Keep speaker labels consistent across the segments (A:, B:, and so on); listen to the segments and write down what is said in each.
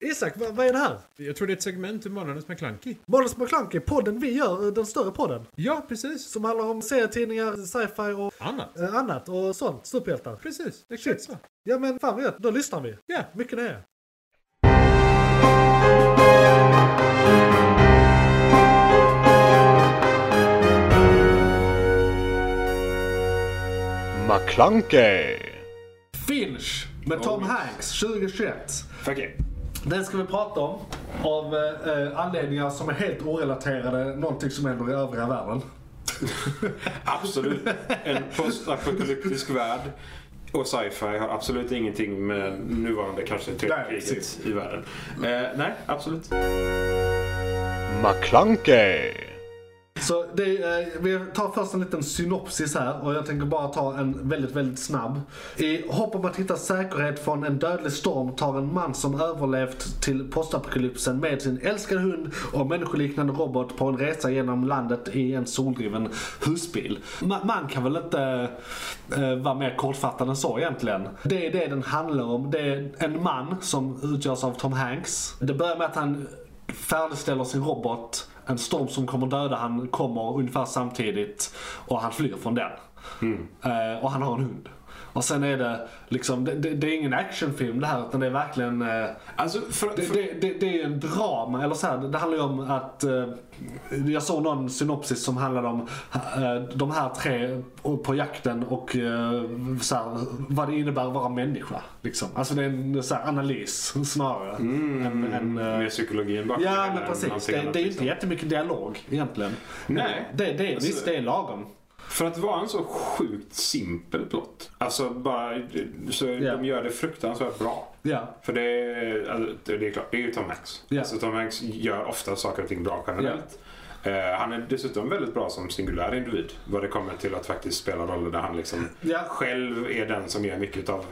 A: Isak, vad, vad är det här?
B: Jag tror det är ett segment ur Månadens McKlunky.
A: Månadens McKlunky, podden vi gör, eh, den större podden.
B: Ja, precis.
A: Som handlar om serietidningar, sci-fi och
B: Annat.
A: eh, annat och sånt. Superhjältar.
B: Precis, exakt
A: Shit.
B: så.
A: Ja men fan vad gött, då lyssnar vi.
B: Ja.
A: Mycket nöje.
C: McClunkey!
A: Finch med Tom Hanks 2021.
C: Okej.
A: Den ska vi prata om av eh, eh, anledningar som är helt orelaterade någonting som händer i övriga världen.
D: Absolut. En postapokalyptisk värld och sci-fi har absolut ingenting med nuvarande kanske tredje
A: Nej,
D: kriget
A: precis.
D: i världen. Eh, nej, absolut.
C: McClunkey!
A: Så det, eh, vi tar först en liten synopsis här och jag tänker bara ta en väldigt, väldigt snabb. I hopp om att hitta säkerhet från en dödlig storm tar en man som överlevt till postapokalypsen med sin älskade hund och människoliknande robot på en resa genom landet i en soldriven husbil. Ma- man kan väl inte eh, vara mer kortfattad än så egentligen. Det är det den handlar om. Det är en man som utgörs av Tom Hanks. Det börjar med att han färdigställer sin robot. En storm som kommer döda han kommer ungefär samtidigt och han flyr från den. Eh, och han har en hund. Och sen är det liksom, det, det, det är ingen actionfilm det här utan det är verkligen eh,
D: Alltså, för,
A: det,
D: för,
A: det, det, det är ju en drama, eller så här, det handlar ju om att eh, jag såg någon synopsis som handlade om eh, de här tre på jakten och eh, så här, vad det innebär att vara människa. Liksom. Alltså det är en så här, analys snarare. än, än, eh,
D: med psykologin bakom
A: Ja
D: eller
A: men precis.
D: någonting
A: Det,
D: annat,
A: det är ju inte
D: liksom.
A: jättemycket dialog egentligen.
D: Nej.
A: Det, det, är
D: Alltså-
A: visst, det är lagom.
D: För att vara en så sjukt simpel plott. Alltså bara, så
A: Ja.
D: de gör det fruktansvärt bra.
A: Ja.
D: För det är, alltså, det det är klart, det är ju Tom Hanks.
A: Ja.
D: Alltså, Tom Hanks gör ofta saker och ting bra generellt. Eh, han är dessutom väldigt bra som singulär individ. Vad det kommer till att faktiskt spela roller där han liksom
A: Ja.
D: själv är den som gör mycket av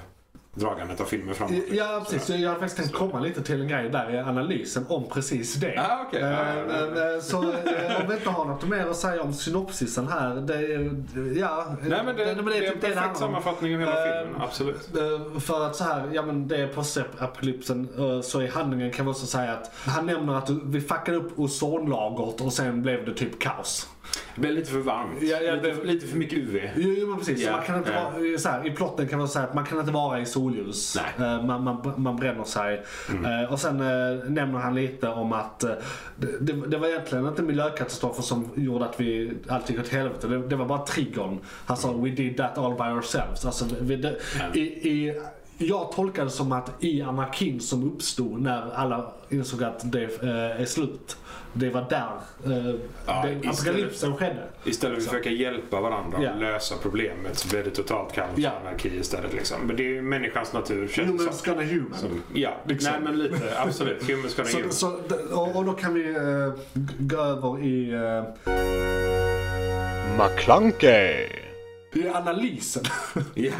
D: dragandet av filmen framåt. liksom.
A: Ja precis, jag hade faktiskt tänkt komma lite till en grej där i analysen om precis det.
D: Ah, okej.
A: Eh,
D: Ah, ja, ja.
A: eh, Så eh, om vi inte har något mer att säga om synopsisen här. Det, är- ja,
D: Nej men det, det,
A: typ
D: är en
A: handlar om.
D: perfekt sammanfattning av hela
A: Eh,
D: filmen, absolut.
A: Eh, För att så här, ja men det är postapokalypsen eh, så i handlingen kan vi också säga att han nämner att vi fuckade upp ozonlagret och sen blev det typ kaos.
D: Det blir lite för varmt.
A: Ja, ja,
D: lite,
A: det-
D: lite för mycket UV.
A: Jo, jo men precis.
D: Ja,
A: man kan inte
D: ja.
A: vara, eh, så här, I plotten kan man säga att man kan inte vara i solljus.
D: Nej. Mm.
A: Eh, Man, man, man bränner sig. Eh, Och sen eh, nämner han lite om att eh, det- det, det var egentligen inte miljökatastrofer som gjorde att vi allt gick åt helvete. Det, det var bara triggern. Han sa we did that all by ourselves. Alltså, vi, det, i, i, jag tolkar det som att i anarkin som uppstod när alla insåg att det eh, är slut. Det var där eh,
D: Ja,
A: det-
D: istället-
A: apokalypsen skedde.
D: Istället för att försöka hjälpa varandra och
A: Ja.
D: lösa problemet så blir det totalt kaos
A: Ja.
D: och anarki istället. Liksom. Men det är ju människans natur känns det
A: Humans
D: som.
A: gonna human.
D: Som- Ja,
A: Liksom.
D: nej men lite absolut. Humans gonna
A: Så,
D: humans.
A: så, och, och då kan vi eh, g- gå över i, eh,
C: McClunkey!
A: i analysen.
D: Ja.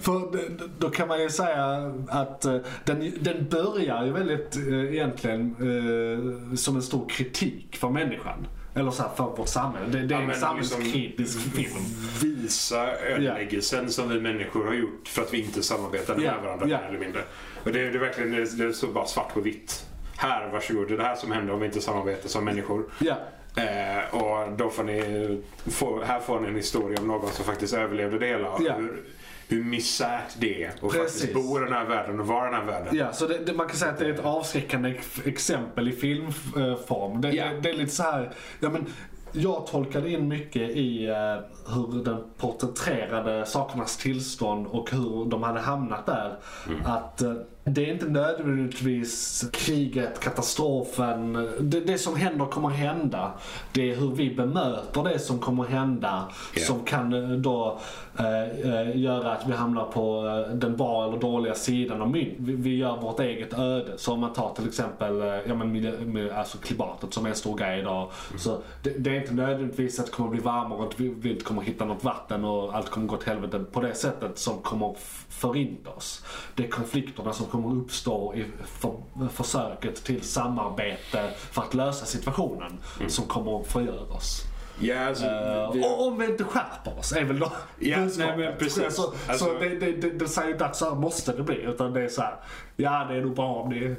A: För d- d- då kan man ju säga att eh, den, den börjar ju väldigt eh, egentligen eh, som en stor kritik för människan. Eller så här, för vårt samhälle. Det, det är
D: Ja, men liksom-
A: en samhällskritisk film.
D: Visa ödeläggelsen som vi människor har gjort för att vi inte samarbetar med
A: Ja,
D: varandra
A: ja.
D: mer eller mindre. Och det, det är verkligen, det, det står bara svart på vitt. Här, varsågod. Det är det här som händer om vi inte samarbetar som människor.
A: Ja.
D: Eh, och då får ni, få, här får ni en historia om någon som faktiskt överlevde det hela. och
A: Ja.
D: Hur, hur misärt det är att
A: Precis.
D: faktiskt bo i den här världen och vara i den här världen.
A: Ja, så det, det, man kan säga att det är ett avskräckande ex- exempel i filmform. Det,
D: Ja.
A: det, det är lite så här, ja men jag tolkade in mycket i eh, hur den porträtterade sakernas tillstånd och hur de hade hamnat där.
D: Mm.
A: Att eh, det är inte nödvändigtvis kriget, katastrofen, det, det som händer kommer hända. Det är hur vi bemöter det som kommer hända
D: Ja.
A: som kan eh, då eh, eh, göra att vi hamnar på eh, den bra eller dåliga sidan av mynt. Vi, vi gör vårt eget öde. Så om man tar till exempel eh, ja, men miljö, miljö, alltså klimatet som är en stor grej idag. Så det, det är inte nödvändigtvis att det kommer bli varmare och att vi, vi inte kommer hitta något vatten och allt kommer gå åt helvete på det sättet som kommer f- förinta oss. Det är konflikterna som kommer uppstå i för, försöket till samarbete för att lösa situationen som kommer att förgöra oss.
D: Ja, alltså, vi-
A: Eh, och om vi inte skärper oss är väl då
D: Ja,
A: budskapet.
D: nej, men precis.
A: Så, så
D: Alltså-
A: det, det, det, det säger inte att så här måste det bli utan det är så här. Ja det är nog bra om ni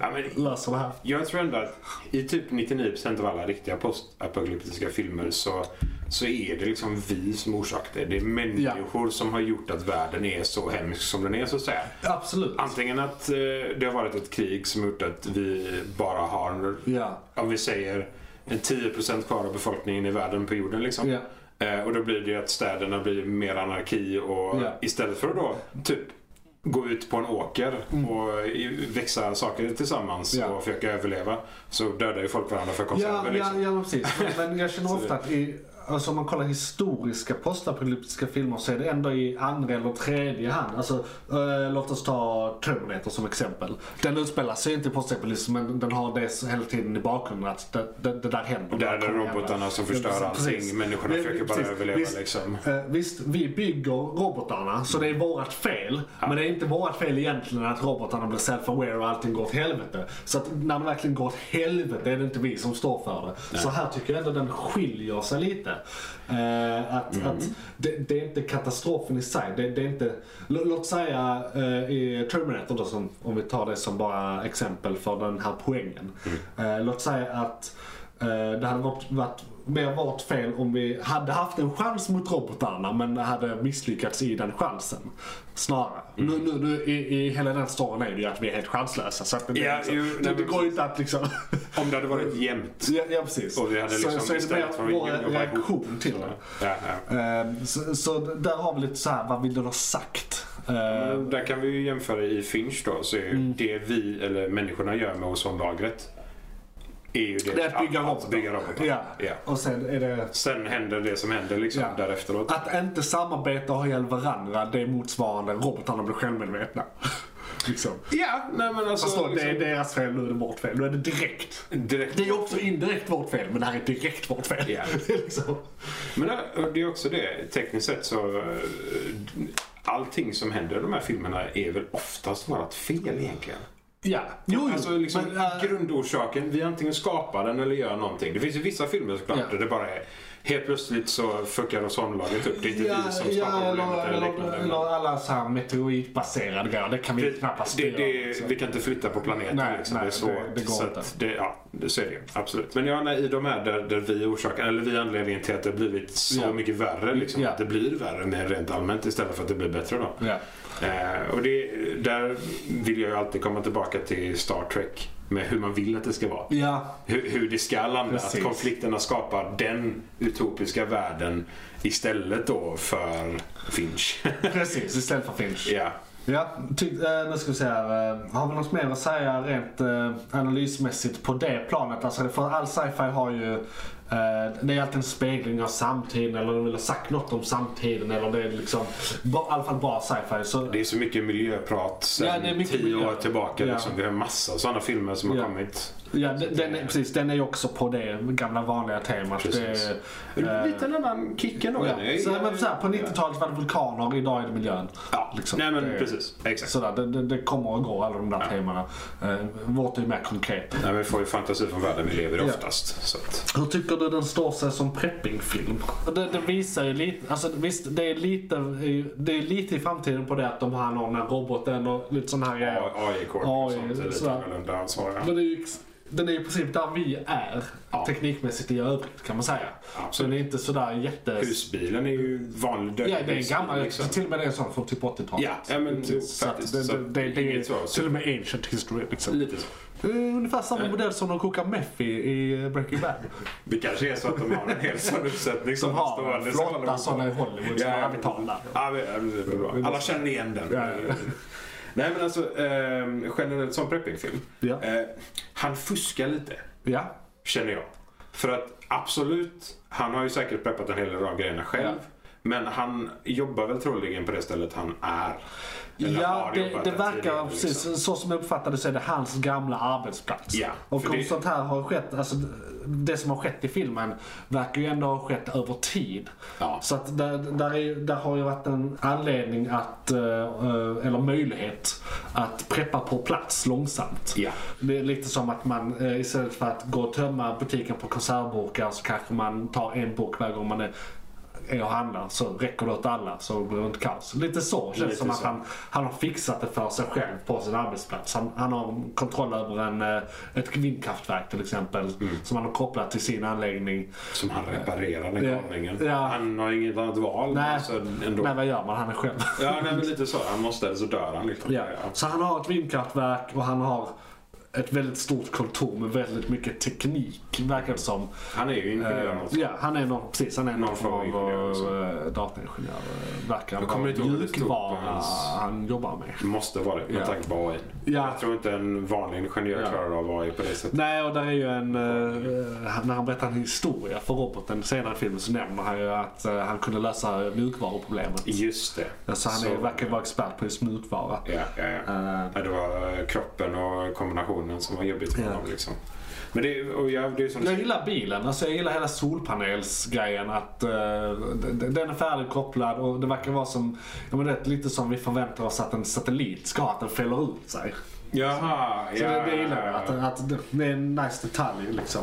D: Ja, men
A: löser det här.
D: Jag tror ändå att i typ 99% av alla riktiga postapokalyptiska filmer så, så är det liksom vi som orsakar det. Det är människor som har gjort att världen är så hemsk som den är så att säga.
A: Absolut.
D: Antingen att eh, det har varit ett krig som gjort att vi bara har,
A: Ja.
D: om vi säger en 10% kvar av befolkningen i världen på jorden liksom.
A: Ja.
D: Eh, och då blir det ju att städerna blir mer anarki och
A: Ja.
D: istället för att då typ gå ut på en åker och i- växa saker tillsammans
A: Mm. Ja.
D: och försöka överleva så dödar ju folk varandra för konserver
A: Ja, ja,
D: liksom.
A: ja, men precis. Men, men jag känner ofta att i, alltså om man kollar historiska postapokalyptiska filmer så är det ändå i andra eller tredje hand. Alltså, eh, låt oss ta Terminator som exempel. Den utspelar sig inte i postapokalypsen men den har det hela tiden i bakgrunden att det, det, det där händer.
D: Där är
A: Det
D: det
A: kommer
D: robotarna
A: hända.
D: som förstör
A: Ja, precis.
D: allting. Människorna
A: Men-
D: försöker bara
A: precis.
D: överleva
A: Visst,
D: liksom.
A: Eh, visst, vi bygger robotarna så det är vårt fel. Men det är inte vårt fel egentligen att robotarna blir self-aware och allting går åt helvete. Så att när det verkligen går åt helvete är det inte vi som står för det. Så här tycker jag ändå den skiljer sig lite. Eh, att,
D: Mm.
A: att det, det är inte katastrofen i sig. Det, det är inte, lå- låt säga eh, i Terminator då, som, om vi tar det som bara exempel för den här poängen.
D: Mm.
A: Eh, låt säga att Eh, Det hade varit, varit mer vårt fel om vi hade haft en chans mot robotarna men hade misslyckats i den chansen. Snarare. Nu, nu, nu i, i hela den storyn är det ju att vi är helt chanslösa. Så att det, är
D: Ja,
A: liksom,
D: ju, nej,
A: det,
D: men
A: det går ju inte att liksom...
D: Om det hade varit jämnt.
A: ja, ja, precis.
D: Och vi hade liksom
A: så, så är det
D: istället för
A: mer
D: att
A: vår
D: jobba ihop.
A: reaktion till det.
D: Ja, ja.
A: Eh, Så, så där har vi lite så här, vad vill den ha sagt? Eh,
D: Men Där kan vi ju jämföra i Finch då. Så är ju
A: Mm.
D: det vi, eller människorna, gör med ozonlagret är ju det,
A: Det är att bygga
D: Att
A: robotar.
D: bygga robotar.
A: Ja.
D: Ja.
A: Och sen är det...
D: Sen händer det som händer liksom
A: Ja.
D: därefteråt.
A: Att inte samarbeta och ha ihjäl varandra, det är motsvarande robotarna blir självmedvetna. liksom.
D: Ja, nej men alltså.
A: Förstår,
D: liksom-
A: Det är deras fel, nu är det vårt fel. Nu är det direkt.
D: Direkt.
A: Det är ju också indirekt vårt fel, men det här är direkt vårt fel.
D: Ja.
A: liksom.
D: Men äh, det är också det, tekniskt sett så... äh, Allting som händer i de här filmerna är väl oftast vårt fel egentligen.
A: ja. Jo, jo.
D: Alltså liksom
A: men, äh,
D: grundorsaken, vi antingen skapar den eller gör någonting. Det finns ju vissa filmer såklart
A: Ja.
D: där det bara är helt plötsligt så fuckar ozonlagret upp. Det är inte
A: Ja,
D: vi som
A: ja,
D: skapar
A: eller,
D: problemet eller,
A: eller,
D: liknande.
A: eller alla så här meteoritbaserade grejer. Det kan vi knappast
D: Det,
A: styra.
D: det,
A: liksom.
D: vi kan inte flytta på planeten.
A: Nej,
D: liksom.
A: nej,
D: det är svårt.
A: det- det går
D: så
A: inte.
D: att Det, ja, det, så är det ju. Absolut. Men ja, nej, i de här där, där vi orsakar, eller vi är anledningen till att det har blivit så
A: Ja.
D: mycket värre. Liksom,
A: Ja.
D: Att det blir värre men rent allmänt istället för att det blir bättre. Då.
A: Ja.
D: Eh, och det, där vill jag ju alltid komma tillbaka till Star Trek med hur man vill att det ska vara.
A: ja.
D: Hur, hur det ska landa.
A: Precis.
D: Att konflikterna skapar den utopiska världen istället då för Finch.
A: Precis, istället för Finch.
D: ja.
A: Ja, ty, eh, nu ska vi se här. eh, Har vi något mer att säga rent eh, analysmässigt på det planet? Alltså, för all sci-fi har ju... Eh, det är alltid en spegling av samtiden eller de vill ha sagt något om samtiden. Eller det är liksom... ba- I alla fall bra sci-fi. Så,
D: Det är så mycket miljöprat sen
A: Ja, det är mycket
D: tio
A: miljö.
D: år tillbaka.
A: Ja.
D: Liksom. Vi har massa sådana filmer som
A: Ja.
D: har kommit.
A: ja, den, den är, precis, den är ju också på det gamla vanliga temat.
D: Precis.
A: Det, är, eh,
D: Lite en annan kick ändå.
A: ja.
D: Nej,
A: så, men, så här, på 90-talet var det vulkaner, idag är det miljön.
D: Ja,
A: liksom.
D: Nej, men
A: Det-
D: precis. Exakt.
A: Sådär, det, det, det kommer och går alla de där temana. Eh, vårt är ju mer konkret.
D: Nej, vi får ju fantasi från världen vi lever i
A: Ja.
D: oftast. Så att,
A: Hur tycker du den står sig som preppingfilm? Det, det visar ju lite, alltså visst det är lite, det är lite i framtiden på det att de har någon roboten och lite sån här grejer.
D: AI-kort
A: Ja,
D: E
A: E
D: och sånt är lite
A: sådär.
D: annorlunda ansvariga.
A: Men det är ju, ex- den är ju i princip där vi är
D: Ja.
A: teknikmässigt i övrigt kan man säga. Så
D: Absolut.
A: den är inte sådär jätte...
D: Husbilen är ju vanlig död.
A: Ja, det är en gammal,
D: liksom.
A: till och med det är en sån från typ 80-talet.
D: Ja, ja, men jo,
A: så att
D: faktiskt.
A: det,
D: Så
A: det, det, det
D: inget
A: är
D: så-
A: till och med ancient history liksom.
D: Lite Eh. så.
A: Det är Ungefär samma modell som de kokar meth i, i Breaking Bad.
D: Det kanske är så att de har en hel sån uppsättning
A: De
D: nästa
A: har
D: år. Det ska alla
A: flotta
D: vara.
A: såna i Hollywood som
D: Ja,
A: är
D: ja.
A: vitala.
D: Ja, men, ja, men det blir bra. Alla känner igen den.
A: Ja, ja.
D: Nej men alltså eh, generellt som preppingfilm.
A: Ja.
D: Eh, han fuskar lite
A: Ja.
D: känner jag. För att absolut, han har ju säkert preppat en hel rad grejerna själv. Men han jobbar väl troligen på det stället han är. Eller
A: Ja,
D: har
A: det,
D: jobbat
A: det
D: där
A: verkar
D: tidigare,
A: precis.
D: liksom.
A: Så som jag uppfattade så är det hans gamla arbetsplats.
D: Ja,
A: och
D: för
A: om
D: det-
A: sånt här har skett, alltså det som har skett i filmen verkar ju ändå ha skett över tid.
D: Ja.
A: Så att där, där, är, där har ju varit en anledning att, eh, eh, eller möjlighet, att preppa på plats långsamt.
D: Ja.
A: Det är lite som att man eh, istället för att gå och tömma butiken på konservburkar så kanske man tar en burk varje gång man är är och handlar så räcker det åt alla så blir det inte kaos. Lite så känns det
D: Lite
A: som att
D: så.
A: han, han har fixat det för sig själv på sin arbetsplats. Han, han har kontroll över en, eh, ett vindkraftverk till exempel
D: Mm.
A: som han har kopplat till sin anläggning.
D: Som han reparerar den
A: Ja.
D: galningen.
A: Ja.
D: Han har inget annat val.
A: Nej,
D: Så ändå.
A: nej vad gör man? Han är själv.
D: Ja, nej, men lite så. Han måste, så dör han liksom.
A: Ja. Så han har ett vindkraftverk och han har ett väldigt stort kontor med väldigt mycket teknik verkar det som.
D: Han är ju ingenjör.
A: Eh,
D: något.
A: Ja, han är någon, precis, han är någon form av
D: ingenjör också.
A: eh, dataingenjör. eh, Verkar han
D: Jag kommer inte ihåg vad det stod på
A: mjukvara
D: hans-
A: han jobbar med.
D: Det måste vara det med
A: Ja.
D: tanke på AI.
A: Ja.
D: Jag tror inte en vanlig ingenjör
A: Ja.
D: klarar av AI på det sättet.
A: Nej, och där är ju en... eh, när han berättar en historia för roboten senare i filmen så nämner han ju att eh, han kunde lösa mjukvaruproblemet.
D: Just det.
A: Så han är, verkar vara expert på just mjukvara.
D: Ja, ja, ja.
A: Eh,
D: Ja, Det var eh, kroppen och kombinationen som var jobbigt för
A: Ja.
D: honom. Liksom. Men det, och jag, det är ju som du
A: Jag
D: säger.
A: gillar bilen, alltså jag gillar hela solpanelsgrejen. Att eh, d- d- den är färdigkopplad och det verkar vara som, jag menar, det är lite som vi förväntar oss att en satellit ska ha, att den fäller ut sig.
D: Jaha,
A: Så
D: ja.
A: det, det gillar jag, att, att det- det är en nice detalj liksom.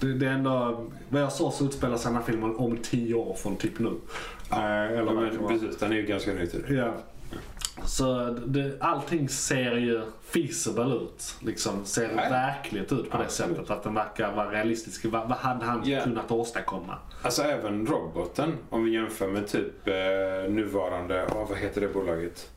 A: Det, det är ändå, vad jag såg så utspelar sig den här filmen om tio år från typ nu. Eh, eller
D: Ja,
A: vad det kan
D: men,
A: vara.
D: precis, den är ju ganska ny till.
A: Ja. Så det, allting ser ju feasible ut. Liksom, ser
D: Ja.
A: verkligt ut på det sättet. Att den verkar vara realistisk. Vad, vad hade han
D: Ja.
A: kunnat åstadkomma?
D: Alltså även roboten, om vi jämför med typ eh, nuvarande, oh, vad heter det bolaget?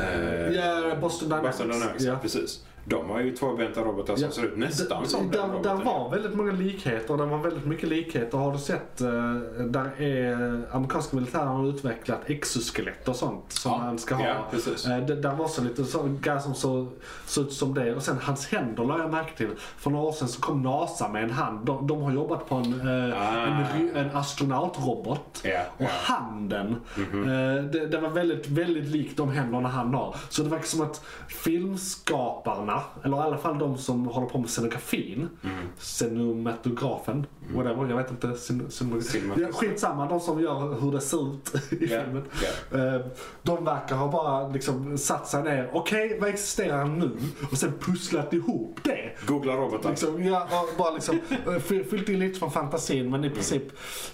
D: Eh,
A: Ja, Boston Dynamics.
D: Boston Dynamics,
A: Ja.
D: precis. De har ju tvåbenta robotar som
A: Ja.
D: ser ut nästan som
A: där,
D: den roboten.
A: där var väldigt många likheter. och Det var väldigt mycket likheter. Har du sett? eh, Där är amerikanska militären har utvecklat exoskelett och sånt som
D: Ja,
A: han ska ha.
D: ja, precis.
A: Eh, det- Där var så lite så, grejer som så- såg ut som det. Och sen hans händer la jag märke till. För några år sedan så kom NASA med en hand. De, de har jobbat på en, eh,
D: Ah.
A: en, ry- en astronautrobot.
D: Ja,
A: Och
D: ja.
A: handen.
D: Mhm.
A: eh, det, det var väldigt, väldigt likt de händerna han har. Så det verkar som att filmskaparna, eller i alla fall de som håller på med scenografin,
D: Mm.
A: cinematografen, whatever, jag vet inte. Cin- cin-
D: Cinematograf.
A: ja, skitsamma, de som gör hur det ser ut i
D: Ja,
A: filmen. Eh, De verkar ha bara liksom satt sig ner, okej vad existerar nu? Och sen pusslat ihop det.
D: Googla robotar.
A: Liksom, ja, och bara liksom, eh, fy- fyllt in lite från fantasin men i princip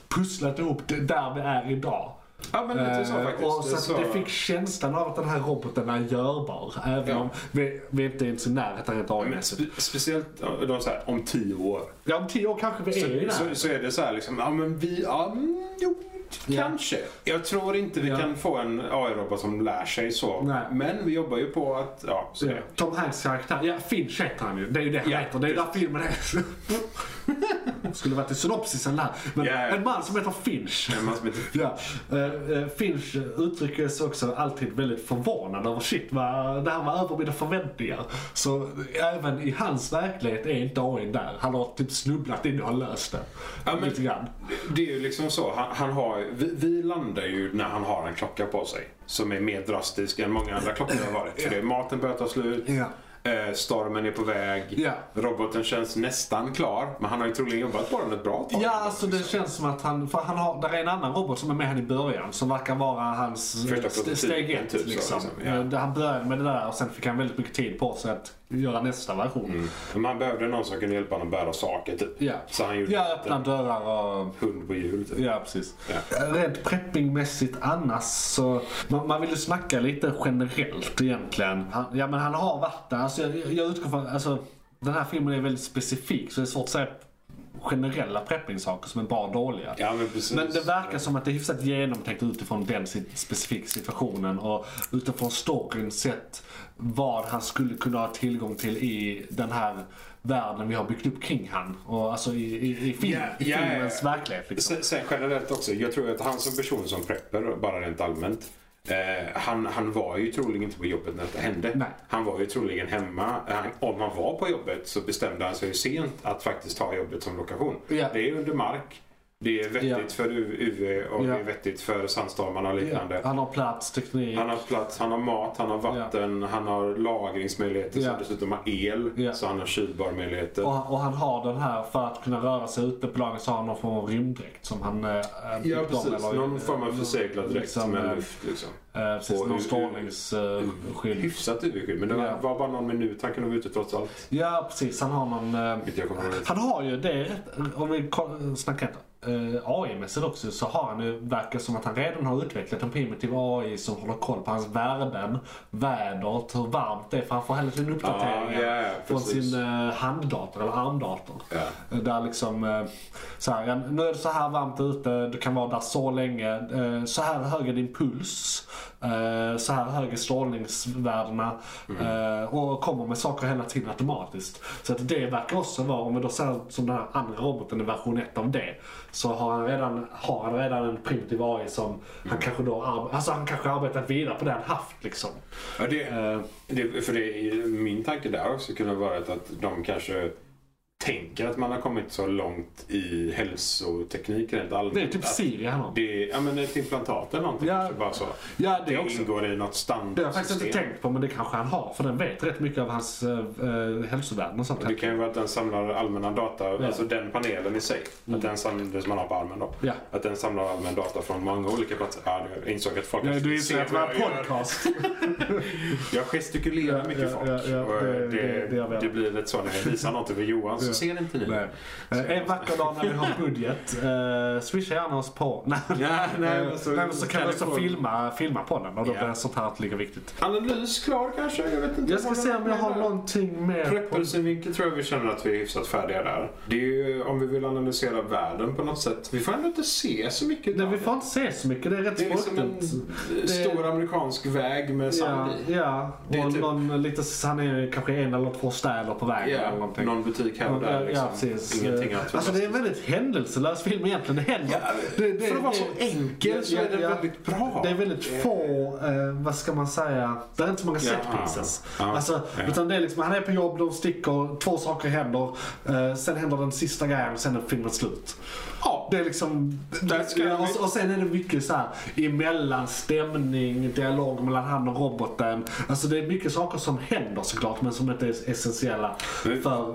A: pusslat ihop det där vi är idag.
D: Ja men lite så
A: Eh,
D: faktiskt.
A: Och så
D: Det är
A: att
D: så-
A: det fick känslan av att den här roboten är görbar. Även
D: Ja.
A: om vi, vi inte är ens i närheten rent
D: Men
A: AI-mässigt.
D: spe, speciellt eh, de så här, om tio år.
A: Ja, om tio år kanske vi är i
D: Så, så,
A: närheten.
D: så är det så här liksom, ja men vi, ja, mm, jo,
A: Ja.
D: kanske. Jag tror inte vi
A: Ja.
D: kan få en AI-robot som lär sig så.
A: Nej.
D: Men vi jobbar ju på att, ja, så
A: Ja.
D: det.
A: Tom Hanks karaktär, ja Finch heter han ju. Det är ju det han
D: Ja,
A: heter. Det är där filmen är. Skulle varit i synopsisen där. Men
D: Ja, ja.
A: en man som heter Finch.
D: En man som heter
A: ja. Eh, eh, Finch uttrycker sig också alltid väldigt förvånad över shit, vad, det här var över mina förväntningar. Så även i hans verklighet är inte AI n där. Han har typ snubblat in och har löst det.
D: Ja, men-
A: Lite grann.
D: Det- Det är ju liksom så. Han, han har, vi, vi landar ju när han har en klocka på sig. Som är mer drastisk än många andra klockor har varit. För det är maten börjar ta slut.
A: Ja.
D: eh, Stormen är på väg.
A: Ja.
D: Roboten känns nästan klar. Men han har ju troligen jobbat på den ett bra tag.
A: Ja, alltså det känns som att han, för han har, där är en annan robot som är med han i början som verkar vara hans
D: Första
A: eh, st-
D: prototypen,
A: steg ett.
D: typ så,
A: liksom.
D: liksom, ja.
A: Eh, där Han började med det där och sen fick han väldigt mycket tid på sig att göra nästa version.
D: Men han behövde någon som kunde hjälpa honom att bära saker typ.
A: Ja.
D: Mm. Så han gjorde
A: Ja,
D: en
A: öppna dörrar och...
D: hund på hjul typ.
A: Ja, precis.
D: Ja.
A: Eh, Rent preppingmässigt annars så... Man, man vill ju snacka lite generellt egentligen. Han, ja, men han har varit där. Alltså, jag, jag utgår från... Alltså, den här filmen är väldigt specifik så det är svårt att säga generella preppingsaker som är bra och dåliga.
D: Ja, men precis.
A: Men det verkar som att det är hyfsat genomtänkt utifrån den sit- specifika situationen och utifrån storyn sett vad han skulle kunna ha tillgång till i den här världen vi har byggt upp kring han. Och alltså i, i, i, film,
D: Ja,
A: i
D: ja, ja.
A: filmens verklighet. Liksom.
D: Sen, sen generellt också. Jag tror att han som person som prepper, bara rent allmänt. Eh, han, han var ju troligen inte på jobbet när det hände.
A: Nej.
D: Han var ju troligen hemma. Han, om han var på jobbet så bestämde han sig ju sent att faktiskt ta jobbet som lokation.
A: Ja.
D: Det är under mark. Det är vettigt
A: Ja.
D: för U- UV och
A: Ja.
D: det är vettigt för sandstormarna och liknande.
A: Han har plats, teknik.
D: Han har plats, han har mat, han har vatten, han har lagringsmöjligheter
A: Ja.
D: som dessutom har el.
A: Ja.
D: Så han har kylbarmöjligheter.
A: Och, och han har den här, för att kunna röra sig ute på lagen så har han någon form av rymddräkt som han... Eh, byggt
D: Ja
A: om
D: precis,
A: eller-
D: någon form av förseglad dräkt
A: liksom, eh,
D: med luft liksom.
A: Eh, precis,
D: Och
A: någon
D: ur-
A: strålningsskydd.
D: Hyfsat UV-skydd, men det var,
A: Ja.
D: var bara någon minut han kunde vara ute trots allt.
A: Ja, precis. Han har någon... eh,
D: Vilket jag kommer ihåg.
A: Han har ju det, om vi ko- snackar inte. eh, AI-mässigt också så har han ju, verkar som att han redan har utvecklat en primitiv AI som håller koll på hans värden, vädret, hur varmt det är. För han får hela tiden uppdateringar
D: Ja, ja, ja,
A: från
D: precis.
A: sin eh, handdator eller armdator.
D: Ja.
A: Där liksom, eh, så här, ja, nu är det så här varmt ute, du kan vara där så länge. Eh, så här hög är din puls. Eh, så här hög är strålningsvärdena.
D: Mm.
A: Eh, och kommer med saker hela tiden automatiskt. Så att det verkar också vara, om vi då ser som den här andra roboten i version 1 av det. Så har han redan, har han redan en primitiv AI som
D: Mm.
A: han kanske då ar- alltså han kanske arbetat vidare på det han haft liksom.
D: Ja, det,
A: Eh,
D: det, för det, min tanke där också kunde ha varit att de kanske tänker att man har kommit så långt i hälsoteknik rent allmänt.
A: det är typ
D: att
A: Siri han har.
D: det, ja, men ett implantat eller någonting.
A: Ja.
D: kanske Bara så.
A: Ja, det
D: det
A: också.
D: ingår i något
A: Det har jag faktiskt
D: standardsystem.
A: inte tänkt på men det kanske han har för den vet rätt mycket av hans äh, hälsovärden och sånt.
D: Det kan ju vara att den samlar allmänna data, alltså den panelen i sig. Att den samlar, det som man har på armen då.
A: Mm. Ja.
D: Att den samlar allmän data från många olika platser. Ja, jag insåg att folk
A: Ja, du
D: ser
A: inser att det
D: vad
A: var en
D: jag gör.
A: podcast.
D: Jag gestikulerar
A: Ja,
D: mycket
A: ja,
D: folk.
A: ja, ja,
D: och
A: det-
D: det,
A: det-
D: det,
A: det gör vi alla.
D: blir lite så när jag visar något över Johan så ser inte ni.
A: Nej. Eh, En vacker dag när vi har budget, uh, swisha gärna oss på. Nej,
D: Ja, nej, men
A: så, nej, men så kan vi
D: ni
A: också
D: få-
A: filma, filma på den och då
D: Ja.
A: blir sånt här inte lika viktigt.
D: Analys klar kanske? Jag vet inte.
A: Jag ska se om jag har någonting mer. på-
D: Preppelsynvinkel tror jag vi känner att vi är hyfsat färdiga där. Det är ju om vi vill analysera världen på något sätt. Vi får ändå inte se så mycket.
A: Nej,
D: av
A: vi
D: det.
A: får inte se så mycket, det är rätt
D: Det är liksom en
A: språkigt.
D: eh, stor amerikansk väg med
A: Ja,
D: sand i.
A: ja.
D: Det är
A: och
D: typ-
A: någon lite, han är kanske en eller två städer på vägen
D: Ja,
A: eller någonting.
D: någon butik här och
A: Ja,
D: där. Liksom.
A: ja, precis.
D: Ingenting annat.
A: alltså det är en väldigt händelselös film egentligen. Det händer. det, det,
D: För att vara
A: det-
D: så enkel så
A: Ja,
D: är den
A: ja.
D: väldigt bra.
A: Det är väldigt få, eh, vad ska man säga, det är inte så många set
D: Ja.
A: pieces.
D: Ja.
A: Alltså,
D: Ja.
A: Utan det är liksom, han är på jobb, de sticker, två saker händer. Eh, sen händer den sista grejen, sen är filmen slut.
D: Ja,
A: Det är liksom,
D: Där ska
A: ja,
D: vi-
A: och, och sen är det mycket så här emellan stämning, dialog mellan han och roboten. Alltså det är mycket saker som händer såklart men som inte är essentiella
D: Men-
A: för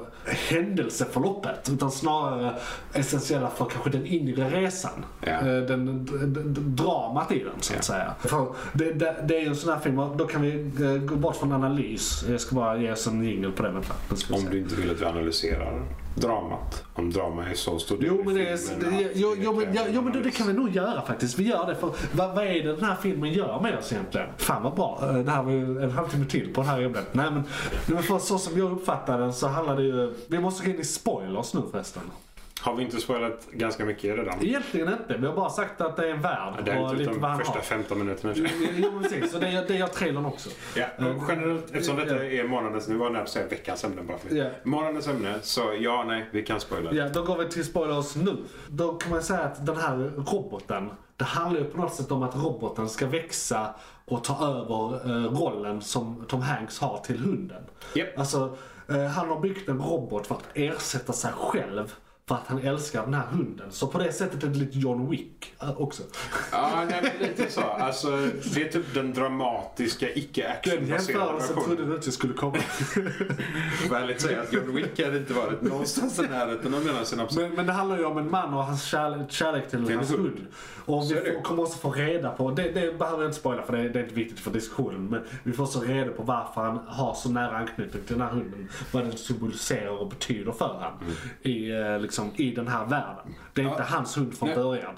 A: händelseförloppet. Utan snarare essentiella för kanske den inre resan.
D: Ja.
A: Eh, Den, d- d- d- dramat i den så att
D: Ja.
A: säga. För det, det, det är ju en sån här film, och då kan vi eh, gå bort från analys. Jag ska bara ge oss en jingle på det. Vänta, nu ska vi
D: Om
A: se.
D: du inte vill att vi analyserar dramat. Om drama är så stor del
A: Jo
D: i
A: men, det är,
D: filmen
A: det,
D: att
A: jo,
D: det
A: jo, men, ja,
D: kräver
A: jo, men det, det
D: analys.
A: kan vi nog göra faktiskt. Vi gör det för vad, vad är det den här filmen gör med oss egentligen? Fan vad bra. Eh, Det här var ju en halvtimme till på det här ämnet. Nej men, nej, men för så som jag uppfattar den så handlar det ju... Vi måste gå in i spoilers nu förresten.
D: Har vi inte spoilat ganska mycket redan?
A: Egentligen inte. Vi har bara sagt att det är en värld
D: Det
A: och
D: är
A: lite
D: typ
A: vad
D: de
A: han
D: första
A: har.
D: 15 minuterna. tror jag.
A: Jo men precis. Så det gör, det gör trailern också. Eh,
D: Ja, men generellt, eftersom
A: ja.
D: detta är månadens, nu var jag nära på att säga veckans ämne bara för
A: Ja.
D: Månadens ämne, så ja, nej, vi kan spoila.
A: Ja, då går vi till spoilers nu. Då kan man säga att den här roboten, det handlar ju på något sätt om att roboten ska växa och ta över eh, rollen som Tom Hanks har till hunden.
D: Japp.
A: Alltså, eh, han har byggt en robot för att ersätta sig själv för att han älskar den här hunden. Så på det sättet är det lite John Wick eh, också.
D: Ja, nej, men lite så. Alltså, det är typ den dramatiska,
A: Den
D: icke-actionbaserade
A: jämförelsen trodde
D: versionen.
A: du inte skulle komma.
D: Jag får ärligt säga att John Wick hade inte varit någonstans i närheten av mina synapser.
A: Men, men det handlar ju om en man och hans kärlek, kärlek till hans
D: hund.
A: hund. Och vi
D: är det.
A: får, kommer också få reda på, det, det behöver jag inte spoila för det, det är inte viktigt för diskussionen. Men vi får så reda på varför han har så nära anknytning till den här hunden. Vad den symboliserar och betyder för honom
D: Mm.
A: i, eh, liksom, i den här världen. Det är inte hans hund från
D: Nej.
A: början.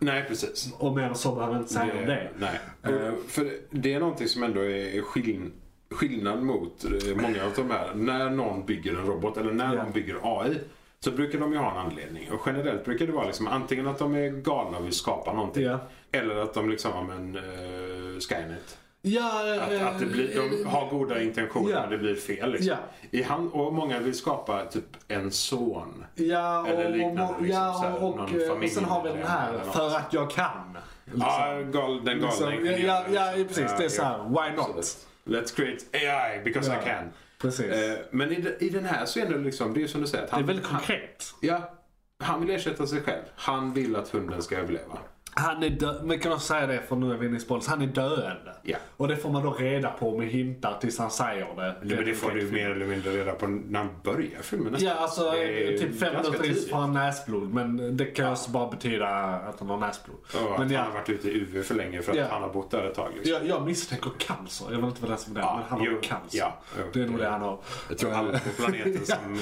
D: Nej, precis.
A: Och mer än så behöver jag inte säga om det.
D: Nej. Och- För det är någonting som ändå är skill skillnad mot eh, många av de här. När någon bygger en robot eller när
A: Ja.
D: någon bygger AI så brukar de ju ha en anledning. Och generellt brukar det vara liksom antingen att de är galna och vill skapa någonting.
A: Ja.
D: Eller att de liksom, ja men, eh, Skynet.
A: Ja, eh,
D: Att, att det blir, de har goda intentioner
A: Ja.
D: men det blir fel. Liksom.
A: Ja.
D: I han, och många vill skapa typ en son.
A: ja, och,
D: eller liknande,
A: och,
D: liksom, så
A: ja,
D: här,
A: och,
D: någon
A: och, eh, och sen har vi den här,
D: familjemedlem eller
A: för att jag kan. Liksom.
D: Ja, gal, den galna
A: Liksom, ja,
D: ingenjören,
A: ja, ja,
D: liksom.
A: precis. Det är så här, why not?
D: Absolut. Let's create AI because
A: Ja.
D: I can.
A: Precis.
D: Eh, men i, de- i den här så är det liksom, det är ju som du säger. Att
A: det är
D: han,
A: väldigt konkret.
D: han, ja, han vill ersätta sig själv. Han vill att hunden ska överleva.
A: Han är dö- men kan jag säga det för nu är vi inne i spoilers. Han är döende.
D: Ja.
A: Och det får man då reda på med hintar tills han säger det.
D: Men det får du mer eller mindre reda på när han börjar filmen nästan.
A: Ja, alltså
D: Det är
A: typ fem
D: ganska
A: minuter in så
D: tidigt.
A: får han näsblod. Men det kan ju också bara betyda att han har näsblod.
D: Ja, att
A: men ja,
D: han har varit ute i UV för länge för att
A: Ja.
D: han har bott där ett tag. Liksom.
A: jag, jag misstänker cancer. Jag vet inte vad det är som är det.
D: Ja,
A: men han har
D: jo,
A: cancer.
D: ja, jo,
A: det är nog
D: det-
A: det han har.
D: Jag tror alla på planeten som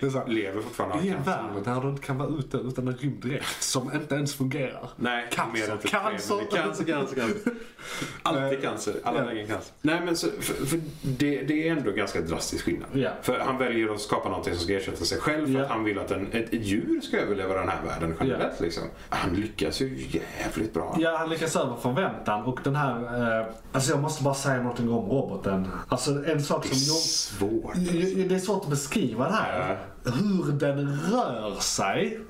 A: Det är så
D: eh,
A: här.
D: lever fortfarande
A: I en
D: cancer.
A: värld där du inte kan vara ute utan en rymddräkt som inte ens fungerar.
D: Nej, mer
A: cancer,
D: än inte tre, men
A: cancer.
D: det- Cancer, cancer, cancer. Alltid cancer. Alla
A: Ja.
D: vägen cancer. Nej, men så, för, för det, det är ändå ganska drastisk skillnad.
A: Ja.
D: För han väljer att skapa någonting som ska ersätta sig själv för
A: Ja.
D: att han vill att en, ett djur ska överleva den här världen generellt. Liksom. Han lyckas ju jävligt bra.
A: Ja, han lyckas över förväntan och den här... Eh, alltså jag måste bara säga någonting om roboten. Alltså en sak
D: Det
A: som...
D: är
A: jag-
D: svårt.
A: Ju- ju- Det är svårt att beskriva det här. Hur den rör sig.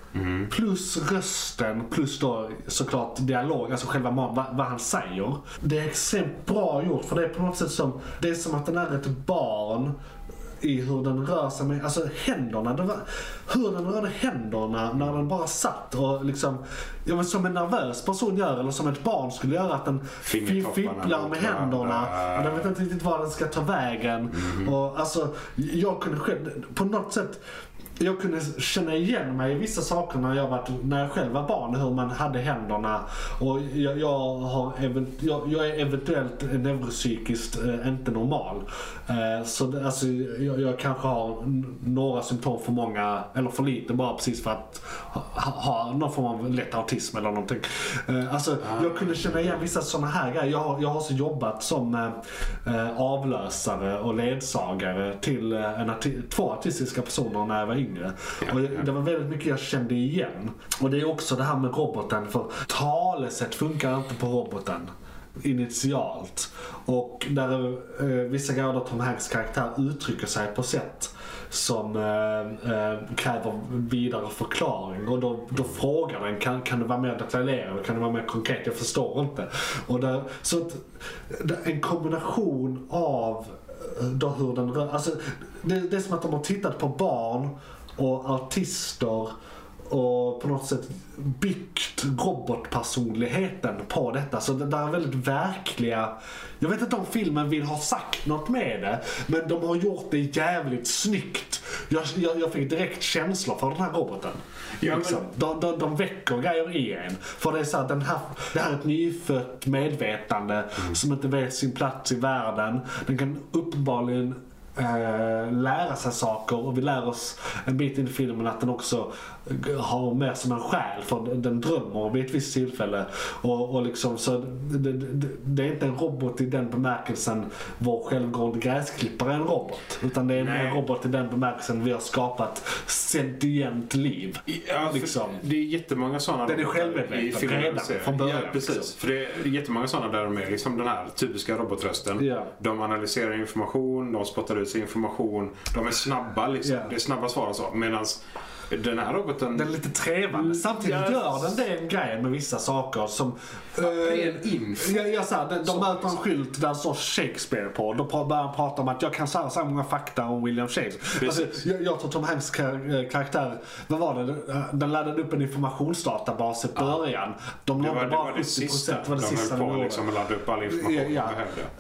A: Plus rösten, plus då såklart dialog, alltså själva man, vad, vad han säger. Det är extremt bra gjort för det är på något sätt som, det är som att den är ett barn i hur den rör sig med, alltså händerna. Det var, hur den rörde händerna när den bara satt och liksom, ja men som en nervös person gör eller som ett barn skulle göra att den fi-
D: Fingertopparna
A: fipplar
D: mot
A: med händerna.
D: varandra.
A: Och den vet inte riktigt var den ska ta vägen.
D: Mm-hmm.
A: Och alltså, jag kunde själv, på något sätt, jag kunde känna igen mig i vissa saker när jag, var, när jag själv var barn. Hur man hade händerna. Och jag, jag, har, even- jag, jag är eventuellt neuropsykiskt eh, inte normal. Eh, så det, alltså, jag, jag kanske har n- några symptom för många, eller för lite bara precis för att ha, ha någon form av lätt autism eller någonting. Eh, alltså,
D: Ah.
A: jag kunde känna igen vissa sådana här grejer. Jag, har- jag har så jobbat som eh, eh, avlösare och ledsagare till eh, en arti- två artistiska personer när jag var yngre. Och jag- det var väldigt mycket jag kände igen. Och det är också det här med roboten. För talesätt funkar inte på roboten initialt. Och där eh, vissa grejer där Tom Hanks karaktär uttrycker sig på sätt som eh, eh, kräver vidare förklaring. Och då, då frågar den, kan, kan du vara mer detaljerad? Kan du vara mer konkret? Jag förstår inte. Och där, så att, där- en kombination av eh, då hur den rör alltså, det, det är som att de har tittat på barn och artister och på något sätt byggt robotpersonligheten på detta. Så det där är väldigt verkliga. Jag vet inte om filmen vill ha sagt något med det, men de har gjort det jävligt snyggt. Jag, jag, jag fick direkt känslor för den här roboten.
D: Ja, men-
A: liksom. de, de, de väcker grejer i en. För det är så här, den här, det här är ett nyfött medvetande
D: Mm.
A: som inte vet sin plats i världen. Den kan uppenbarligen eh, lära sig saker och vi lär oss en bit in i filmen att den också g- har med som en själ för den- den drömmer vid ett visst tillfälle. Och, och liksom, så det, det, det är inte en robot i den bemärkelsen vår självgående gräsklippare är en robot. Utan det är mer en
D: Nej.
A: robot i den bemärkelsen vi har skapat sentient liv.
D: Ja, för
A: Liksom.
D: Det är jättemånga sådana
A: Den är
D: robotar
A: självmedveten
D: i filmer
A: redan
D: och serier.
A: från början,
D: Ja, precis.
A: liksom.
D: För det är jättemånga sådana där de är liksom den här typiska robotrösten.
A: Ja.
D: De analyserar information, de spottar ut sig information. De är snabba liksom.
A: Ja.
D: Det är snabba svar och så. Medan den här roboten...
A: Den är lite
D: Mm.
A: trevande. Samtidigt
D: Ja.
A: gör den den grejen med vissa saker som... eh,
D: ren info.
A: Ja, ja, så här, de de möter en skylt där det står Shakespeare på. Då pra- börjar han prata om att jag kan så här, så här många fakta om William Shakespeare.
D: Precis.
A: Alltså, jag, jag tror Tom Hanks kar- eh, karaktär, vad var det? Den- Den laddade upp en informationsdatabas i början. De
D: Det var
A: nådde
D: det,
A: bara
D: var
A: 70
D: det sista
A: procent. Det var det
D: de
A: sista
D: höll
A: de
D: på
A: gjorde.
D: liksom, att ladda upp all information
A: Ja,
D: de
A: ja.